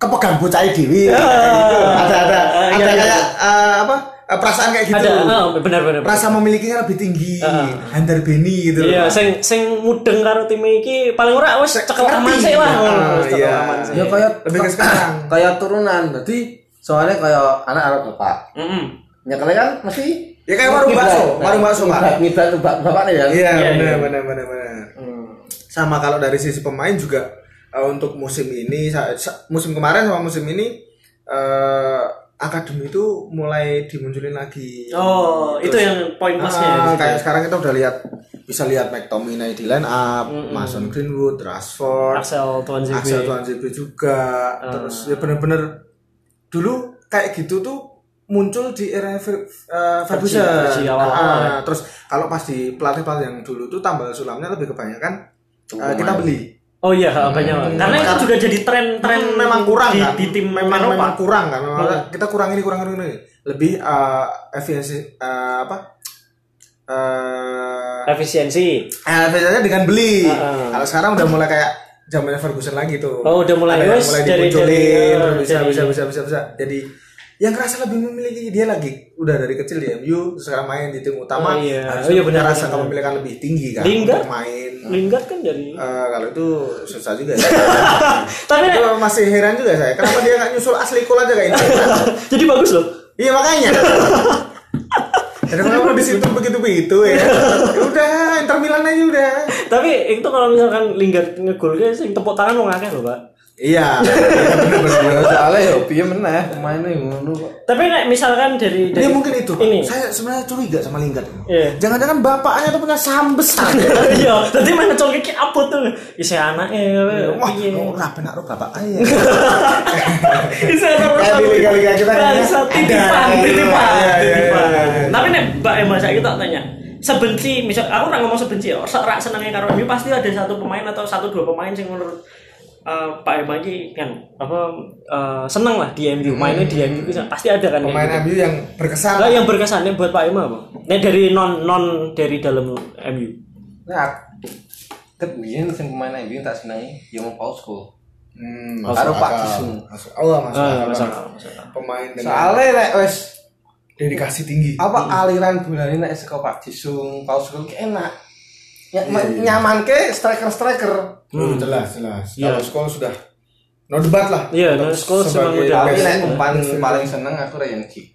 [SPEAKER 1] kepegang bocah dewi.
[SPEAKER 2] Ya.
[SPEAKER 1] kayak gitu. Ada ada
[SPEAKER 2] Ah,
[SPEAKER 1] ada
[SPEAKER 2] iya, iya.
[SPEAKER 1] kayak eh, apa? eh, perasaan kayak gitu.
[SPEAKER 2] ada oh, benar benar benar.
[SPEAKER 1] Rasa memilikinya lebih tinggi,
[SPEAKER 2] Ah.
[SPEAKER 1] Hunter Benny gitu.
[SPEAKER 2] iya sing sing mudeng karo tim iki paling ora wis cekel
[SPEAKER 1] Ngerti.
[SPEAKER 2] aman sih lah
[SPEAKER 1] Ah,
[SPEAKER 2] Wis cekel
[SPEAKER 1] iya.
[SPEAKER 2] aman sih
[SPEAKER 3] Ya kayak
[SPEAKER 1] Lebih ke sekarang.
[SPEAKER 3] kayak turunan. Jadi soalnya kayak anak anak bapak.
[SPEAKER 2] Mm-mm.
[SPEAKER 3] Nyekelnya kan mesti
[SPEAKER 1] Ya, kayak warung
[SPEAKER 3] ngiblat.
[SPEAKER 1] bakso,
[SPEAKER 3] Nah,
[SPEAKER 1] warung bakso, Pak.
[SPEAKER 3] ngiblat- Ngiblat tuh bap- bapaknya ya.
[SPEAKER 1] Iya,
[SPEAKER 2] Iya,
[SPEAKER 1] benar,
[SPEAKER 2] iya. Hmm.
[SPEAKER 1] benar, benar, benar. Sama kalau dari sisi pemain juga eh, untuk musim ini, sa- sa- musim kemarin sama musim ini eh, akademi itu mulai dimunculin lagi.
[SPEAKER 2] oh itu
[SPEAKER 1] Terus,
[SPEAKER 2] yang poin plusnya
[SPEAKER 1] ah,
[SPEAKER 2] ya, di situ
[SPEAKER 1] kayak
[SPEAKER 2] ya.
[SPEAKER 1] sekarang kita udah lihat bisa lihat McTominay di line up,
[SPEAKER 2] Hmm,
[SPEAKER 1] Mason Greenwood, Rashford,
[SPEAKER 2] Axel Tuan Zibi
[SPEAKER 1] Axel Tuan juga, terus ya bener-bener dulu kayak gitu tuh muncul di era Fer- eh, Ferguson.
[SPEAKER 2] Fergie awal-awal
[SPEAKER 1] Ah, terus kalau pas di pelatih-pelatih yang dulu tuh tambal sulamnya lebih kebanyakan eh, kita beli.
[SPEAKER 2] oh iya banyak banget. karena itu juga jadi tren tren
[SPEAKER 1] Hmm, memang kurang
[SPEAKER 2] di,
[SPEAKER 1] kan?
[SPEAKER 2] di tim
[SPEAKER 1] memang
[SPEAKER 2] Eropa.
[SPEAKER 1] memang kurang kan. Memang
[SPEAKER 2] Hmm.
[SPEAKER 1] kita kurang ini kurang ini, kurang ini. Lebih eh, efisiensi eh, apa? Eh,
[SPEAKER 2] efisiensi
[SPEAKER 1] Eh, bedanya dengan beli.
[SPEAKER 2] Heeh.
[SPEAKER 1] Kalau sekarang udah mulai kayak zamannya Ferguson lagi tuh.
[SPEAKER 2] Oh, udah mulai,
[SPEAKER 1] Ada yang
[SPEAKER 2] wes,
[SPEAKER 1] mulai
[SPEAKER 2] jadi-
[SPEAKER 1] dimunculin,
[SPEAKER 2] jadi,
[SPEAKER 1] terus bisa,
[SPEAKER 2] jadi-
[SPEAKER 1] bisa, bisa, bisa, bisa. Jadi yang kerasa lebih memiliki dia lagi udah dari kecil di MU terus sekarang main di tim utama
[SPEAKER 2] Oh, iya.
[SPEAKER 1] harus
[SPEAKER 2] Oh, iya,
[SPEAKER 1] punya
[SPEAKER 2] benar,
[SPEAKER 1] rasa
[SPEAKER 2] benar,
[SPEAKER 1] kepemilikan lebih tinggi kan
[SPEAKER 2] Lingard?
[SPEAKER 1] untuk main.
[SPEAKER 2] Lingard kan dari
[SPEAKER 1] Eh, kalau itu susah juga ya.
[SPEAKER 2] tapi
[SPEAKER 1] itu masih heran juga saya. Kenapa dia nggak nyusul asli kul aja kayak ini?
[SPEAKER 2] jadi bagus loh
[SPEAKER 1] Iya makanya. Jadi kalau di situ begitu begitu ya. Ya udah, Inter Milan aja udah.
[SPEAKER 2] tapi itu kalau misalkan Lingard ngegol guys sing tepuk tangan wong akeh loh Pak
[SPEAKER 1] Iya.
[SPEAKER 3] Ya, Soalnya ya biar meneh pemainnya ngono kok.
[SPEAKER 2] Tapi nek misalkan dari dari
[SPEAKER 1] Dia Ya, mungkin itu. Pak.
[SPEAKER 2] ini.
[SPEAKER 1] Saya sebenarnya curiga sama Lingard.
[SPEAKER 2] Iya.
[SPEAKER 1] Jangan-jangan bapaknya tuh punya saham besar. ya.
[SPEAKER 2] Iya, tadi main ngecol kiki apot tuh. Isi anake
[SPEAKER 1] Wah,
[SPEAKER 2] piye.
[SPEAKER 1] oh, rapi naruh bapak aja.
[SPEAKER 2] Isi anake.
[SPEAKER 1] Kayak di liga-liga Eh, kita kan ya.
[SPEAKER 2] Bangsa
[SPEAKER 1] Ada,
[SPEAKER 2] titipan, titipan,
[SPEAKER 1] ada, iya, iya,
[SPEAKER 2] titipan.
[SPEAKER 1] iya, iya.
[SPEAKER 2] Tapi nek Mbak Emma saya kita tanya. Sebenci, misal aku ora ngomong sebenci, ya, ora senenge karo MU pasti ada satu pemain atau satu dua pemain sing menurut eh, Pak Emma iki kan apa eh, seneng lah di MU, mainnya di MU
[SPEAKER 1] Hmm.
[SPEAKER 2] bisa pasti ada kan. kayak
[SPEAKER 1] Pemain
[SPEAKER 2] gitu.
[SPEAKER 1] MU yang
[SPEAKER 2] Lah,
[SPEAKER 1] berkesan.
[SPEAKER 2] yang berkesannya buat Pak Emma apa? Nek dari non non dari dalam MU.
[SPEAKER 3] Nah, ket biyen sing pemain MU tak senengi ya mau Paul Scholes.
[SPEAKER 1] Hmm,
[SPEAKER 3] Baru
[SPEAKER 1] masuk
[SPEAKER 3] Pak
[SPEAKER 1] akal.
[SPEAKER 3] Jisung.
[SPEAKER 1] Masuk Allah masuk.
[SPEAKER 2] Ah,
[SPEAKER 1] akal.
[SPEAKER 2] masuk akal, masuk akal.
[SPEAKER 1] Pemain dengan
[SPEAKER 3] Soalnya lek wis
[SPEAKER 1] dedikasi tinggi.
[SPEAKER 3] apa aliran bolanya nek saka Pak Jisung, Paul Scholes ki enak. Ya,
[SPEAKER 1] Iya, iya.
[SPEAKER 3] nyaman ke striker-striker.
[SPEAKER 1] Hmm, jelas, jelas.
[SPEAKER 2] Iya.
[SPEAKER 1] Kalau sekolah sudah no debat lah.
[SPEAKER 2] Iya, no
[SPEAKER 1] Untuk
[SPEAKER 2] Scholes memang
[SPEAKER 1] sebagai
[SPEAKER 2] udah
[SPEAKER 3] Tapi
[SPEAKER 1] best.
[SPEAKER 2] best.
[SPEAKER 3] nek paling paling seneng aku Ryan Giggs.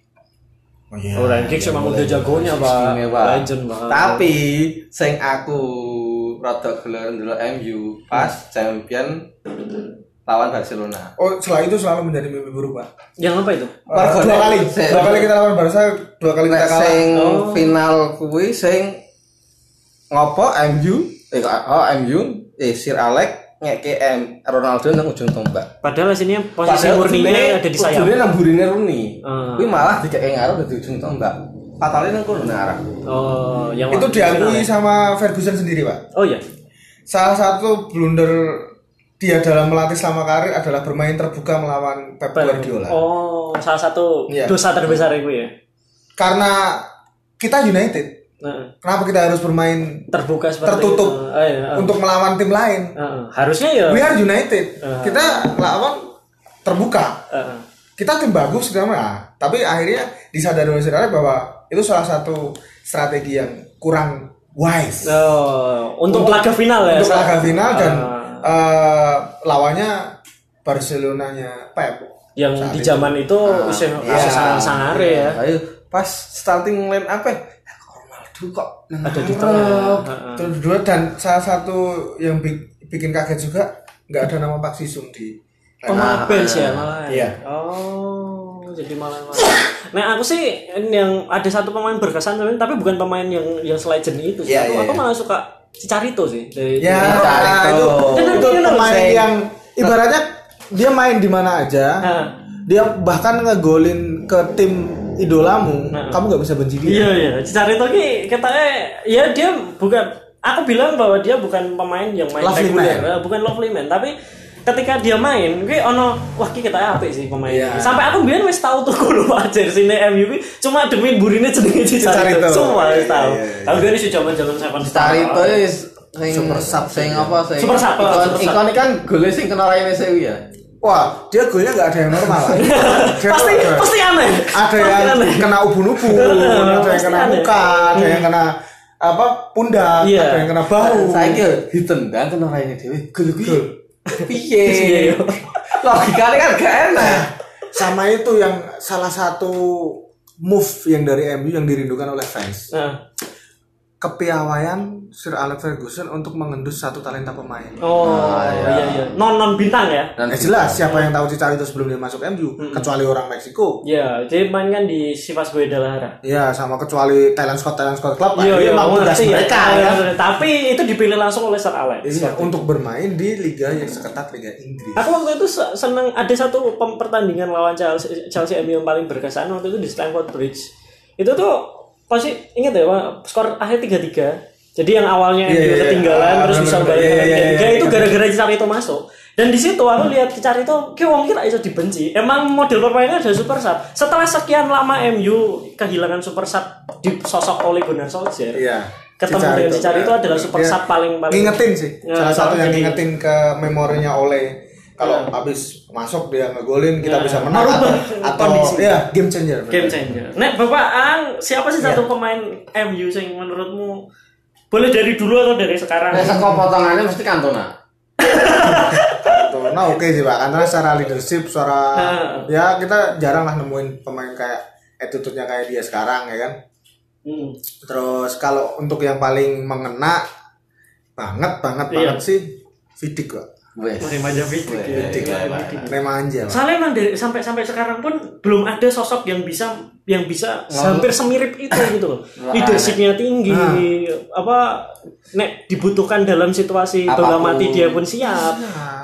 [SPEAKER 1] Oh, iya.
[SPEAKER 2] Oh, Ryan Giggs emang udah jagonya, Pak.
[SPEAKER 3] Istimewa.
[SPEAKER 2] Legend
[SPEAKER 1] Oh.
[SPEAKER 2] banget.
[SPEAKER 3] Tapi sing aku rada gelar ndelok MU pas
[SPEAKER 1] Hmm.
[SPEAKER 3] champion lawan Barcelona.
[SPEAKER 1] Oh, setelah itu selalu menjadi mimpi buruk, Pak.
[SPEAKER 2] yang apa itu?
[SPEAKER 1] Eh, dua kali,
[SPEAKER 3] Sing-
[SPEAKER 1] dua kali kita lawan Barca, dua kali kita
[SPEAKER 3] Nek
[SPEAKER 1] kalah.
[SPEAKER 3] sing
[SPEAKER 2] Oh.
[SPEAKER 3] final kuwi sing ngopo MU eh kok- oh MU eh Sir Alex ngeke M Ronaldo nang ujung tombak.
[SPEAKER 2] Padahal sini posisi murninya ada di sayap.
[SPEAKER 3] Ujungnya namburine Rooney.
[SPEAKER 2] Ah.
[SPEAKER 3] Kuwi malah dikeke ngarep dadi ujung tombak. Fatalnya nang kono nang arah.
[SPEAKER 2] Oh, yang
[SPEAKER 1] Itu
[SPEAKER 2] waktu
[SPEAKER 1] diakui
[SPEAKER 2] final ya?
[SPEAKER 1] sama Ferguson sendiri, Pak.
[SPEAKER 2] Oh iya.
[SPEAKER 1] Salah satu blunder dia dalam melatih selama karir adalah bermain terbuka melawan Pep Guardiola.
[SPEAKER 2] Oh, salah satu
[SPEAKER 1] Iya.
[SPEAKER 2] dosa terbesar itu ya.
[SPEAKER 1] karena kita United.
[SPEAKER 2] Nah,
[SPEAKER 1] Kenapa kita harus bermain
[SPEAKER 2] terbuka seperti
[SPEAKER 1] Tertutup.
[SPEAKER 2] itu. Ah, iya, ah.
[SPEAKER 1] untuk Iya. melawan tim lain?
[SPEAKER 2] Ah, ah. harusnya ya
[SPEAKER 1] We are United.
[SPEAKER 2] Ah.
[SPEAKER 1] Kita lawan terbuka.
[SPEAKER 2] ah, ah.
[SPEAKER 1] Kita tim bagus segala macam. Nah, Tapi akhirnya disadari oleh saudara bahwa itu salah satu strategi yang kurang wise.
[SPEAKER 2] Oh, untuk, laga final ya.
[SPEAKER 1] untuk
[SPEAKER 2] Sa-
[SPEAKER 1] laga final dan
[SPEAKER 2] Ah.
[SPEAKER 1] eh, lawannya Barcelonanya Pep.
[SPEAKER 2] yang
[SPEAKER 1] Saat
[SPEAKER 2] di zaman itu usia
[SPEAKER 1] iya.
[SPEAKER 2] sangar sangare ya.
[SPEAKER 3] Ayo pas starting line apa? ya? Eh, kok Ronaldo kok
[SPEAKER 2] Ada di tengah.
[SPEAKER 1] Terus dua dan salah satu yang bi- bikin kaget juga nggak ada nama Pak Sisung di
[SPEAKER 2] Oh, malah bench ya malah. ya?
[SPEAKER 1] Iya.
[SPEAKER 2] Oh, jadi malah malah. Nah, aku sih ini yang ada satu pemain berkesan sebenarnya, tapi bukan pemain yang yang legend itu. sih.
[SPEAKER 1] Iya,
[SPEAKER 2] aku,
[SPEAKER 1] iya,
[SPEAKER 2] aku
[SPEAKER 1] iya.
[SPEAKER 2] malah suka Cicarito sih dari
[SPEAKER 1] ya
[SPEAKER 2] dari-
[SPEAKER 3] cari
[SPEAKER 1] itu
[SPEAKER 3] tuh.
[SPEAKER 1] itu, itu
[SPEAKER 2] Ini loh,
[SPEAKER 1] pemain
[SPEAKER 2] Seng.
[SPEAKER 1] yang ibaratnya dia main di mana aja
[SPEAKER 2] Nah,
[SPEAKER 1] dia bahkan ngegolin ke tim idolamu kamu nggak bisa benci dia
[SPEAKER 2] Iya iya, Cicarito ki katanya ya dia bukan aku bilang bahwa dia bukan pemain yang main
[SPEAKER 1] Lovely
[SPEAKER 2] reguler,
[SPEAKER 1] man.
[SPEAKER 2] eh, bukan lovely man, tapi ketika dia main, gue ono wah ki kita apik sih pemain.
[SPEAKER 1] Iya.
[SPEAKER 2] ini. Sampai aku biar wis tahu tuh kulo ajar sini MU ki cuma demi burine jenenge Cicarito.
[SPEAKER 1] Cicarito.
[SPEAKER 2] Semua wis
[SPEAKER 1] Iya,
[SPEAKER 2] tahu.
[SPEAKER 1] iya, iya.
[SPEAKER 2] Tapi biar sih zaman-zaman seven star.
[SPEAKER 3] Cari itu ya sing
[SPEAKER 1] Super sub
[SPEAKER 3] sing
[SPEAKER 1] sih,
[SPEAKER 3] apa sing
[SPEAKER 2] Super sub,
[SPEAKER 3] ikon
[SPEAKER 2] super sub.
[SPEAKER 3] ikon kan golnya sing kena raine sewu ya.
[SPEAKER 1] wah dia golnya nggak ada yang normal Dia
[SPEAKER 2] Pasti
[SPEAKER 1] tuh ada-
[SPEAKER 2] pasti aneh.
[SPEAKER 1] ada
[SPEAKER 2] Pasti
[SPEAKER 1] yang
[SPEAKER 2] aneh.
[SPEAKER 1] kena ubun-ubun,
[SPEAKER 2] Betul,
[SPEAKER 1] ada yang
[SPEAKER 2] pasti ada.
[SPEAKER 1] kena
[SPEAKER 2] Hmm.
[SPEAKER 1] muka, ada yang kena apa pundak,
[SPEAKER 2] Iya.
[SPEAKER 1] ada yang kena Gitu. bahu.
[SPEAKER 3] Saya kira ditendang kena raine dhewe. Gol kuwi.
[SPEAKER 2] Piye,
[SPEAKER 3] Piye?
[SPEAKER 2] yo?
[SPEAKER 3] Logikanya kan gak enak.
[SPEAKER 1] Sama itu yang salah satu move yang dari MU yang dirindukan oleh fans.
[SPEAKER 2] Nah.
[SPEAKER 1] Kepiawaian Sir Alex Ferguson untuk mengendus satu talenta pemain.
[SPEAKER 2] Oh,
[SPEAKER 1] Ah,
[SPEAKER 2] iya. iya Non non bintang ya.
[SPEAKER 3] Dan
[SPEAKER 1] Ya jelas siapa yang tahu Cicari itu sebelum dia masuk MU,
[SPEAKER 2] Hmm.
[SPEAKER 1] kecuali orang Meksiko.
[SPEAKER 2] Ya, jadi main kan di Sivas Guadalajara.
[SPEAKER 1] Ya sama kecuali Thailand Scott Thailand Scott Club.
[SPEAKER 2] Iya,
[SPEAKER 1] akhirnya
[SPEAKER 2] iya,
[SPEAKER 1] emang
[SPEAKER 2] aku
[SPEAKER 1] tugas
[SPEAKER 2] ngerti ya.
[SPEAKER 1] mereka
[SPEAKER 2] Iya,
[SPEAKER 1] ya.
[SPEAKER 2] iya, Tapi itu dipilih langsung oleh Sir Alex.
[SPEAKER 1] Iya, untuk bermain di liga yang seketat Liga Inggris.
[SPEAKER 2] Aku waktu itu se- seneng ada satu pem- pertandingan lawan Chelsea, Chelsea MU yang paling berkesan waktu itu di Stamford Bridge. Itu tuh pasti ingat ya, Pak, skor akhir 3-3. Jadi yang awalnya MU
[SPEAKER 1] Iya, iya, iya.
[SPEAKER 2] ketinggalan
[SPEAKER 1] Ah,
[SPEAKER 2] terus bisa
[SPEAKER 1] bener-bener.
[SPEAKER 2] balik
[SPEAKER 1] Iya,
[SPEAKER 2] ke
[SPEAKER 1] iya, iya,
[SPEAKER 2] tiga
[SPEAKER 1] iya.
[SPEAKER 2] itu gara-gara Cicarito masuk. Dan di situ aku lihat Cicarito, kayak wong kira itu dibenci. Emang model permainannya ada super sub. Setelah sekian lama MU kehilangan super sub disosok oleh Gunnar Solskjaer.
[SPEAKER 1] Iya.
[SPEAKER 2] Ketemu
[SPEAKER 1] Cicarito.
[SPEAKER 2] dengan Cicarito
[SPEAKER 1] Iya.
[SPEAKER 2] adalah super
[SPEAKER 1] Iya.
[SPEAKER 2] sub paling- paling- gitu.
[SPEAKER 1] Ngingetin sih.
[SPEAKER 2] Ya,
[SPEAKER 1] Salah satu yang
[SPEAKER 2] jadi-
[SPEAKER 1] ngingetin ke memorinya oleh kalau habis masuk dia ngegolin kita
[SPEAKER 2] Ya.
[SPEAKER 1] bisa menang atau,
[SPEAKER 2] Merubah
[SPEAKER 1] atau
[SPEAKER 2] kondisi.
[SPEAKER 1] ya game changer. benar.
[SPEAKER 2] Game changer. Nek Bapak Ang, siapa sih
[SPEAKER 1] Iya.
[SPEAKER 2] satu pemain MU yang menurutmu boleh dari dulu atau dari sekarang?
[SPEAKER 3] Nah, saka potongannya mesti kantona.
[SPEAKER 1] Tuh, Nah oke sih pak. Karena secara leadership, secara
[SPEAKER 2] Nah.
[SPEAKER 1] ya kita jarang lah nemuin pemain kayak attitude-nya kayak dia sekarang ya kan.
[SPEAKER 2] Hmm.
[SPEAKER 1] Terus kalau untuk yang paling mengena banget banget
[SPEAKER 2] Iya.
[SPEAKER 1] banget sih Vidik kok.
[SPEAKER 3] Wes.
[SPEAKER 2] Remaja Vidic.
[SPEAKER 3] Weh,
[SPEAKER 2] ya.
[SPEAKER 3] Vidic,
[SPEAKER 2] Remaja
[SPEAKER 3] weh,
[SPEAKER 2] Vidic.
[SPEAKER 1] Remaja. Pak.
[SPEAKER 2] Soalnya emang dari sampai sampai sekarang pun belum ada sosok yang bisa yang bisa hampir semirip itu gitu loh. Leadershipnya tinggi, apa nek dibutuhkan dalam situasi bola
[SPEAKER 3] Apapun.
[SPEAKER 2] mati dia pun siap.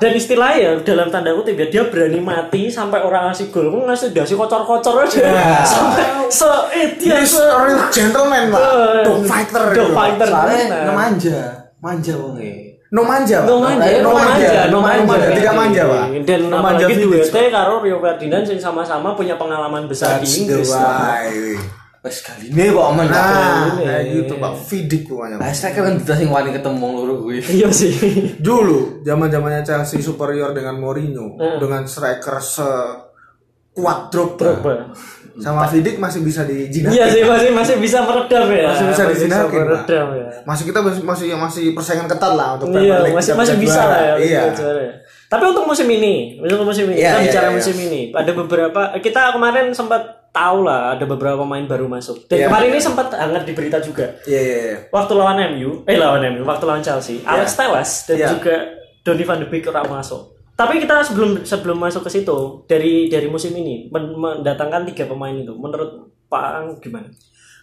[SPEAKER 2] Dan istilahnya ya dalam tanda kutip ya dia berani mati sampai orang ngasih gol pun ngasih dasi kocor-kocor aja. Sampai se eh, dia
[SPEAKER 1] He's
[SPEAKER 2] se
[SPEAKER 1] a real gentleman pak.
[SPEAKER 2] Eh,
[SPEAKER 1] Dog fighter.
[SPEAKER 2] dog
[SPEAKER 1] gitu, Pak.
[SPEAKER 2] fighter.
[SPEAKER 3] Soalnya
[SPEAKER 2] Bener.
[SPEAKER 3] nemanja, manja wonge.
[SPEAKER 1] No manja. Pak.
[SPEAKER 2] No manja,
[SPEAKER 1] Eh,
[SPEAKER 2] no manja, no manja. Iya,
[SPEAKER 1] Tidak manja, Pak.
[SPEAKER 2] Dan
[SPEAKER 1] No
[SPEAKER 2] apalagi
[SPEAKER 1] manja
[SPEAKER 2] duetnya
[SPEAKER 1] Felix, Pak.
[SPEAKER 2] karo Rio Ferdinand yang sama-sama punya pengalaman besar
[SPEAKER 1] That's
[SPEAKER 2] di
[SPEAKER 1] the
[SPEAKER 2] Inggris.
[SPEAKER 1] why.
[SPEAKER 3] Wes galine kok men.
[SPEAKER 1] Nah,
[SPEAKER 2] ini.
[SPEAKER 1] kayak gitu, Pak. Vidik pokoknya. Pak.
[SPEAKER 3] Lah saya kan ditas sing wani ketemu loro kuwi.
[SPEAKER 2] Iya sih.
[SPEAKER 1] Dulu, zaman-zamannya Chelsea superior dengan Mourinho,
[SPEAKER 2] Eh.
[SPEAKER 1] dengan striker se kuat Drogba. Sama Vidik masih bisa dijinakin.
[SPEAKER 2] Iya sih masih masih bisa meredam ya.
[SPEAKER 1] Masih bisa dijinakin, Pak.
[SPEAKER 2] meredam ya.
[SPEAKER 1] Masih kita masih masih masih persaingan ketat lah
[SPEAKER 2] Iya,
[SPEAKER 1] untuk Premier League
[SPEAKER 2] masih
[SPEAKER 1] siap
[SPEAKER 2] masih
[SPEAKER 1] jadi
[SPEAKER 2] bisa
[SPEAKER 1] juara.
[SPEAKER 2] lah ya.
[SPEAKER 1] Iya.
[SPEAKER 2] untuk juara ya. Tapi untuk musim ini, untuk musim ini,
[SPEAKER 1] Iya,
[SPEAKER 2] kita
[SPEAKER 1] iya,
[SPEAKER 2] bicara
[SPEAKER 1] iya, iya.
[SPEAKER 2] musim ini, ada beberapa kita kemarin sempat tahu lah ada beberapa pemain baru masuk. Dan
[SPEAKER 1] Iya.
[SPEAKER 2] kemarin ini sempat hangat di berita juga.
[SPEAKER 1] Iya, iya, iya.
[SPEAKER 2] waktu lawan MU, eh lawan MU, waktu lawan Chelsea, Alex Telles dan
[SPEAKER 1] Iya.
[SPEAKER 2] juga Donny van de Beek orang masuk. Tapi kita sebelum sebelum masuk ke situ dari dari musim ini men- mendatangkan tiga pemain itu, menurut Pak Ang gimana?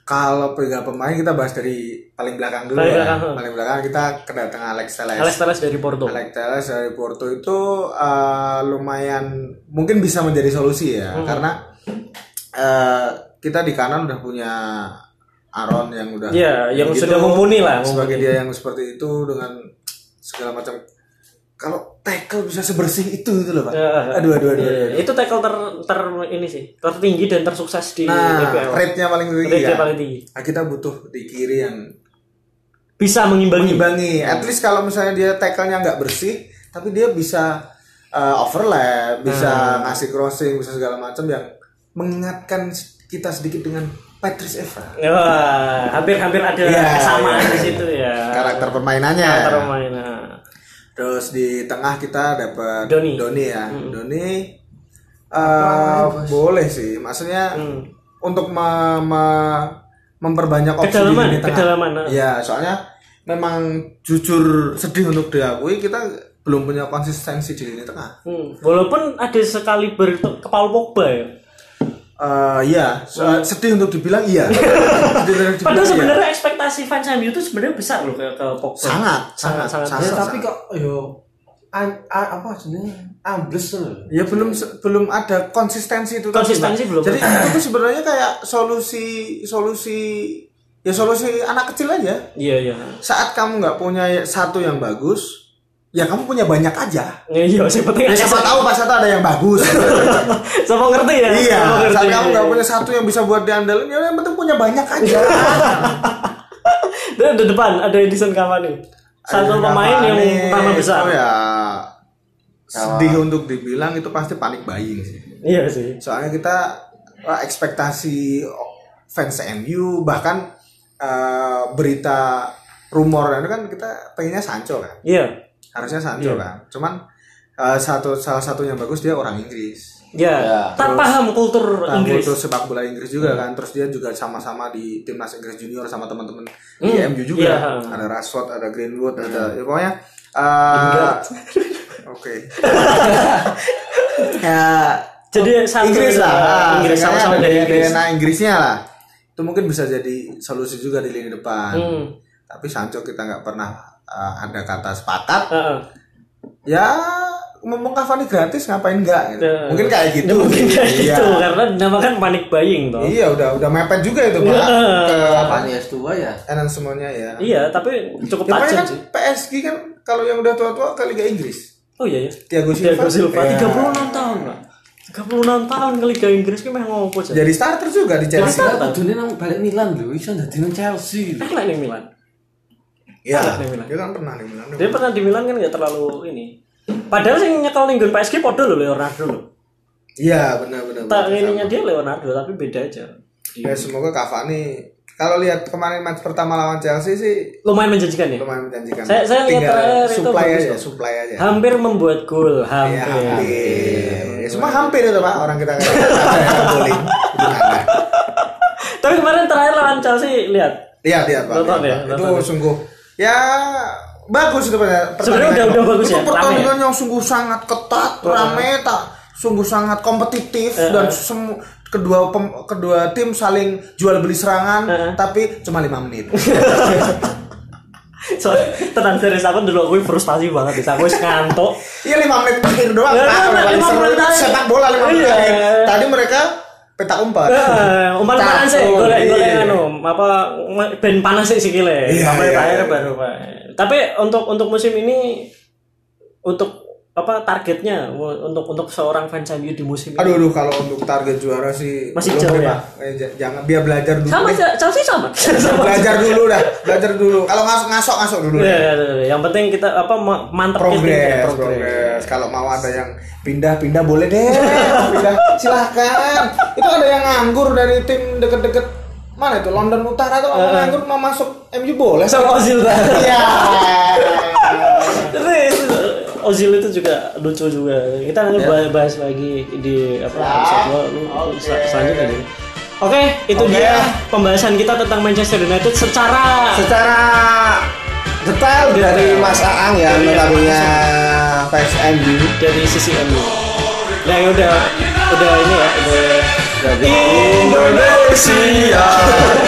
[SPEAKER 1] Kalau tiga pemain kita bahas dari paling belakang dulu.
[SPEAKER 2] Paling
[SPEAKER 1] ya.
[SPEAKER 2] belakang. eh.
[SPEAKER 1] Paling belakang kita kedatangan Alex Telles.
[SPEAKER 2] Alex Telles dari Porto.
[SPEAKER 1] Alex Telles dari Porto itu eh, lumayan mungkin bisa menjadi solusi ya
[SPEAKER 2] Hmm.
[SPEAKER 1] karena eh, kita di kanan udah punya Aaron yang udah
[SPEAKER 2] Iya, yang
[SPEAKER 1] gitu.
[SPEAKER 2] sudah mumpuni lah,
[SPEAKER 1] sebagai dia yang seperti itu dengan segala macam kalau tackle bisa sebersih itu gitu loh pak
[SPEAKER 2] Ya.
[SPEAKER 1] aduh aduh aduh, aduh.
[SPEAKER 2] Iya, Itu tackle ter, ter ini sih, tertinggi dan tersukses di
[SPEAKER 1] nah
[SPEAKER 2] EPL.
[SPEAKER 1] rate-nya paling tinggi
[SPEAKER 2] Rate-nya
[SPEAKER 1] ya
[SPEAKER 2] paling tinggi.
[SPEAKER 1] Nah, kita butuh di kiri yang
[SPEAKER 2] Bisa mengimbangi.
[SPEAKER 1] mengimbangi. At least kalau misalnya dia tackle-nya nggak bersih, tapi dia bisa uh, overlap,
[SPEAKER 2] Hmm.
[SPEAKER 1] bisa ngasih crossing, bisa segala macam yang mengingatkan kita sedikit dengan Patrice Evra.
[SPEAKER 2] Wah, hampir-hampir ada
[SPEAKER 1] Iya, ya.
[SPEAKER 2] kesamaan
[SPEAKER 1] iya.
[SPEAKER 2] di situ ya. nah.
[SPEAKER 1] Karakter permainannya.
[SPEAKER 2] Karakter permainan.
[SPEAKER 1] Terus di tengah kita dapat
[SPEAKER 2] Doni. Hmm.
[SPEAKER 1] ya. Doni uh, boleh sih. Maksudnya
[SPEAKER 2] Hmm.
[SPEAKER 1] untuk me- me- memperbanyak opsi
[SPEAKER 2] Kedalaman,
[SPEAKER 1] di lini tengah.
[SPEAKER 2] kedalaman, ah.
[SPEAKER 1] Ya, soalnya memang jujur sedih untuk diakui kita belum punya konsistensi di lini tengah.
[SPEAKER 2] Hmm. Walaupun ada sekali ber kepala Pogba ya.
[SPEAKER 1] Eh ya, so- sedih untuk dibilang iya. sedih untuk dibilang
[SPEAKER 2] Padahal
[SPEAKER 1] iya.
[SPEAKER 2] sebenarnya ekspektasi fans MU itu sebenarnya besar loh ke, ke Pogba.
[SPEAKER 1] sangat,
[SPEAKER 2] Sangat,
[SPEAKER 1] sangat,
[SPEAKER 2] sangat.
[SPEAKER 1] sangat.
[SPEAKER 2] Ya,
[SPEAKER 1] sangat.
[SPEAKER 4] tapi kok yo an- a- apa sebenarnya ambles loh.
[SPEAKER 1] Ya belum se- belum ada konsistensi itu. tadi,
[SPEAKER 2] Konsistensi
[SPEAKER 1] Pak.
[SPEAKER 2] belum
[SPEAKER 1] Jadi itu tuh sebenarnya kayak solusi solusi ya solusi anak kecil aja.
[SPEAKER 2] Iya, iya.
[SPEAKER 1] Saat kamu nggak punya satu yang bagus, ya kamu punya banyak aja.
[SPEAKER 2] Ya, iya, siapa tahu
[SPEAKER 1] Ya siapa tahu pas satu ada yang bagus.
[SPEAKER 2] Siapa ngerti ya?
[SPEAKER 1] iya.
[SPEAKER 2] Siapa ngerti.
[SPEAKER 1] Saat kamu nggak punya satu yang bisa buat diandelin, ya yang penting punya banyak aja.
[SPEAKER 2] Iya, Dan di depan ada Edison Cavani. Satu
[SPEAKER 1] Ada
[SPEAKER 2] pemain yang
[SPEAKER 1] Cavani,
[SPEAKER 2] nama besar.
[SPEAKER 1] itu ya sedih untuk dibilang itu pasti panik buying sih.
[SPEAKER 2] Iya sih.
[SPEAKER 1] soalnya kita wah, ekspektasi fans MU bahkan eh, berita rumor itu kan kita pengennya Sancho kan
[SPEAKER 2] Iya.
[SPEAKER 1] harusnya Sancho kan cuman eh, satu salah satu yang bagus dia orang Inggris
[SPEAKER 2] Iya. Tak paham kultur
[SPEAKER 1] Ya, Nah,
[SPEAKER 2] Inggris. Hmm.
[SPEAKER 1] itu sepak bola Inggris juga kan terus dia juga sama-sama di timnas Inggris junior sama teman-teman di
[SPEAKER 2] Hmm,
[SPEAKER 1] MU juga
[SPEAKER 2] iya. Hmm.
[SPEAKER 1] ada Rashford ada Greenwood ada ya, pokoknya eh, oke ya
[SPEAKER 2] Jadi satu ya,
[SPEAKER 1] Inggris lah. Ah,
[SPEAKER 2] Inggris
[SPEAKER 1] kayaknya
[SPEAKER 2] sama-sama
[SPEAKER 1] ada
[SPEAKER 2] dari Inggris.
[SPEAKER 1] DNA Inggrisnya lah. Itu mungkin bisa jadi solusi juga di lini depan.
[SPEAKER 2] Hmm.
[SPEAKER 1] Tapi Sancho kita nggak pernah eh, ada kata sepakat.
[SPEAKER 2] Heeh.
[SPEAKER 1] Ya ngomong Cavani gratis ngapain enggak gitu.
[SPEAKER 2] Ya.
[SPEAKER 1] Mungkin kayak gitu.
[SPEAKER 2] Ya, mungkin kayak
[SPEAKER 1] Iya.
[SPEAKER 2] gitu karena dinamakan panic buying toh.
[SPEAKER 1] Iya udah udah mepet juga itu Pak. Ke apa?
[SPEAKER 4] Apaan ya S2 ya?
[SPEAKER 1] Enan semuanya ya.
[SPEAKER 2] Iya, tapi cukup
[SPEAKER 1] Ya, pokoknya
[SPEAKER 2] tajam
[SPEAKER 1] kan
[SPEAKER 2] sih.
[SPEAKER 1] PSG kan kalau yang udah tua-tua ke Liga Inggris.
[SPEAKER 2] Oh iya ya.
[SPEAKER 1] Thiago Silva.
[SPEAKER 2] Thiago Silva
[SPEAKER 1] Ya.
[SPEAKER 2] 36 tahun, Pak. 36 tahun ke Liga Inggris ki meh ngopo aja.
[SPEAKER 1] Jadi starter juga di Chelsea.
[SPEAKER 4] Kita kudune nang balik Milan lho, iso dadi nang Chelsea. lho.
[SPEAKER 2] Elek nih Milan.
[SPEAKER 1] Iya.
[SPEAKER 2] Di Milan.
[SPEAKER 1] Dia kan pernah di Milan.
[SPEAKER 2] Dia pernah di Milan kan nggak terlalu ini. Padahal sing nyekel ning gol PSG podo lho Leonardo lho.
[SPEAKER 1] Iya, benar-benar.
[SPEAKER 2] Tak
[SPEAKER 1] benar.
[SPEAKER 2] ininya dia Leonardo tapi beda aja.
[SPEAKER 1] Ya semoga Cavani kalau lihat kemarin match pertama lawan Chelsea sih
[SPEAKER 2] Lumayan menjanjikan ya.
[SPEAKER 1] lumayan menjanjikan.
[SPEAKER 2] Saya- saya lihat
[SPEAKER 1] Tinggal
[SPEAKER 2] terakhir itu
[SPEAKER 1] supply
[SPEAKER 2] bagus
[SPEAKER 1] aja,
[SPEAKER 2] kok.
[SPEAKER 1] supply aja.
[SPEAKER 2] Hampir membuat gol,
[SPEAKER 1] Ya,
[SPEAKER 2] hampir.
[SPEAKER 1] hampir. Ya, Semua hampir itu Pak, orang kita kayak gitu. ada yang bowling. Gimana?
[SPEAKER 2] Tapi kemarin terakhir lawan Chelsea lihat
[SPEAKER 1] Lihat, lihat Iya, Pak.
[SPEAKER 2] Nonton
[SPEAKER 1] lihat,
[SPEAKER 2] ya,
[SPEAKER 1] Pak. Itu
[SPEAKER 2] nonton ya.
[SPEAKER 1] sungguh ya bagus itu ya. pertandingan.
[SPEAKER 2] Sebenarnya udah- udah bagus
[SPEAKER 1] itu
[SPEAKER 2] ya,
[SPEAKER 1] pertandingan yang sungguh sangat ketat, rame tak sungguh sangat kompetitif dan semu- kedua pem- kedua tim saling jual beli serangan tapi cuma lima menit.
[SPEAKER 2] Soalnya tenang serius aku dulu aku frustasi banget bisa aku wis ngantuk.
[SPEAKER 1] Iya lima menit terakhir doang.
[SPEAKER 2] Iya,
[SPEAKER 1] Pak.
[SPEAKER 2] lima
[SPEAKER 1] Kalau
[SPEAKER 2] menit,
[SPEAKER 1] paling seru
[SPEAKER 2] lima
[SPEAKER 1] itu
[SPEAKER 2] menit.
[SPEAKER 1] sepak bola lima menit.
[SPEAKER 2] Iya.
[SPEAKER 1] terakhir. Tadi mereka petak umpan.
[SPEAKER 2] Eh, umpan-umpanan sih
[SPEAKER 1] Cakep.
[SPEAKER 2] golek-golek
[SPEAKER 1] Iya.
[SPEAKER 2] anu apa ben panas sih sikile.
[SPEAKER 1] Iya,
[SPEAKER 2] Sampai
[SPEAKER 1] iya,
[SPEAKER 2] terakhir
[SPEAKER 1] iya.
[SPEAKER 2] baru Pak. Tapi untuk untuk musim ini untuk apa targetnya untuk untuk seorang fans MU di musim ini.
[SPEAKER 1] Aduh, aduh kalau untuk target juara sih
[SPEAKER 2] Masih
[SPEAKER 1] belum
[SPEAKER 2] jauh
[SPEAKER 1] deh,
[SPEAKER 2] ya?
[SPEAKER 1] Pak. Eh, j- jangan biar belajar dulu.
[SPEAKER 2] Sama
[SPEAKER 1] deh.
[SPEAKER 2] aja, Chelsea sama. Sama.
[SPEAKER 1] Belajar dulu dah, belajar dulu. Kalau ngasok ngasok ngasok dulu.
[SPEAKER 2] Ya,
[SPEAKER 1] deh.
[SPEAKER 2] ya, ya, ya. Yang penting kita apa ma- mantep
[SPEAKER 1] Progres,
[SPEAKER 2] ya,
[SPEAKER 1] progres. Kalau mau ada yang pindah-pindah boleh deh. Pindah, silahkan. Itu ada yang nganggur dari tim deket-deket mana itu London Utara tuh orang nganggur mau masuk MU boleh.
[SPEAKER 2] Sama Ozil Pak.
[SPEAKER 1] Iya.
[SPEAKER 2] Tapi itu, Ozil itu juga lucu juga. Kita nanti bah- bahas lagi di apa episode dua, lu lu sel- selanjutnya deh. Oke, itu
[SPEAKER 1] Oke.
[SPEAKER 2] dia pembahasan kita tentang Manchester United secara
[SPEAKER 3] secara detail
[SPEAKER 1] Iya.
[SPEAKER 3] dari Mas Aang ya
[SPEAKER 2] Dari
[SPEAKER 3] notabene fans MU
[SPEAKER 2] dari sisi MU. Nah, ya udah udah ini ya, udah
[SPEAKER 3] Indonesia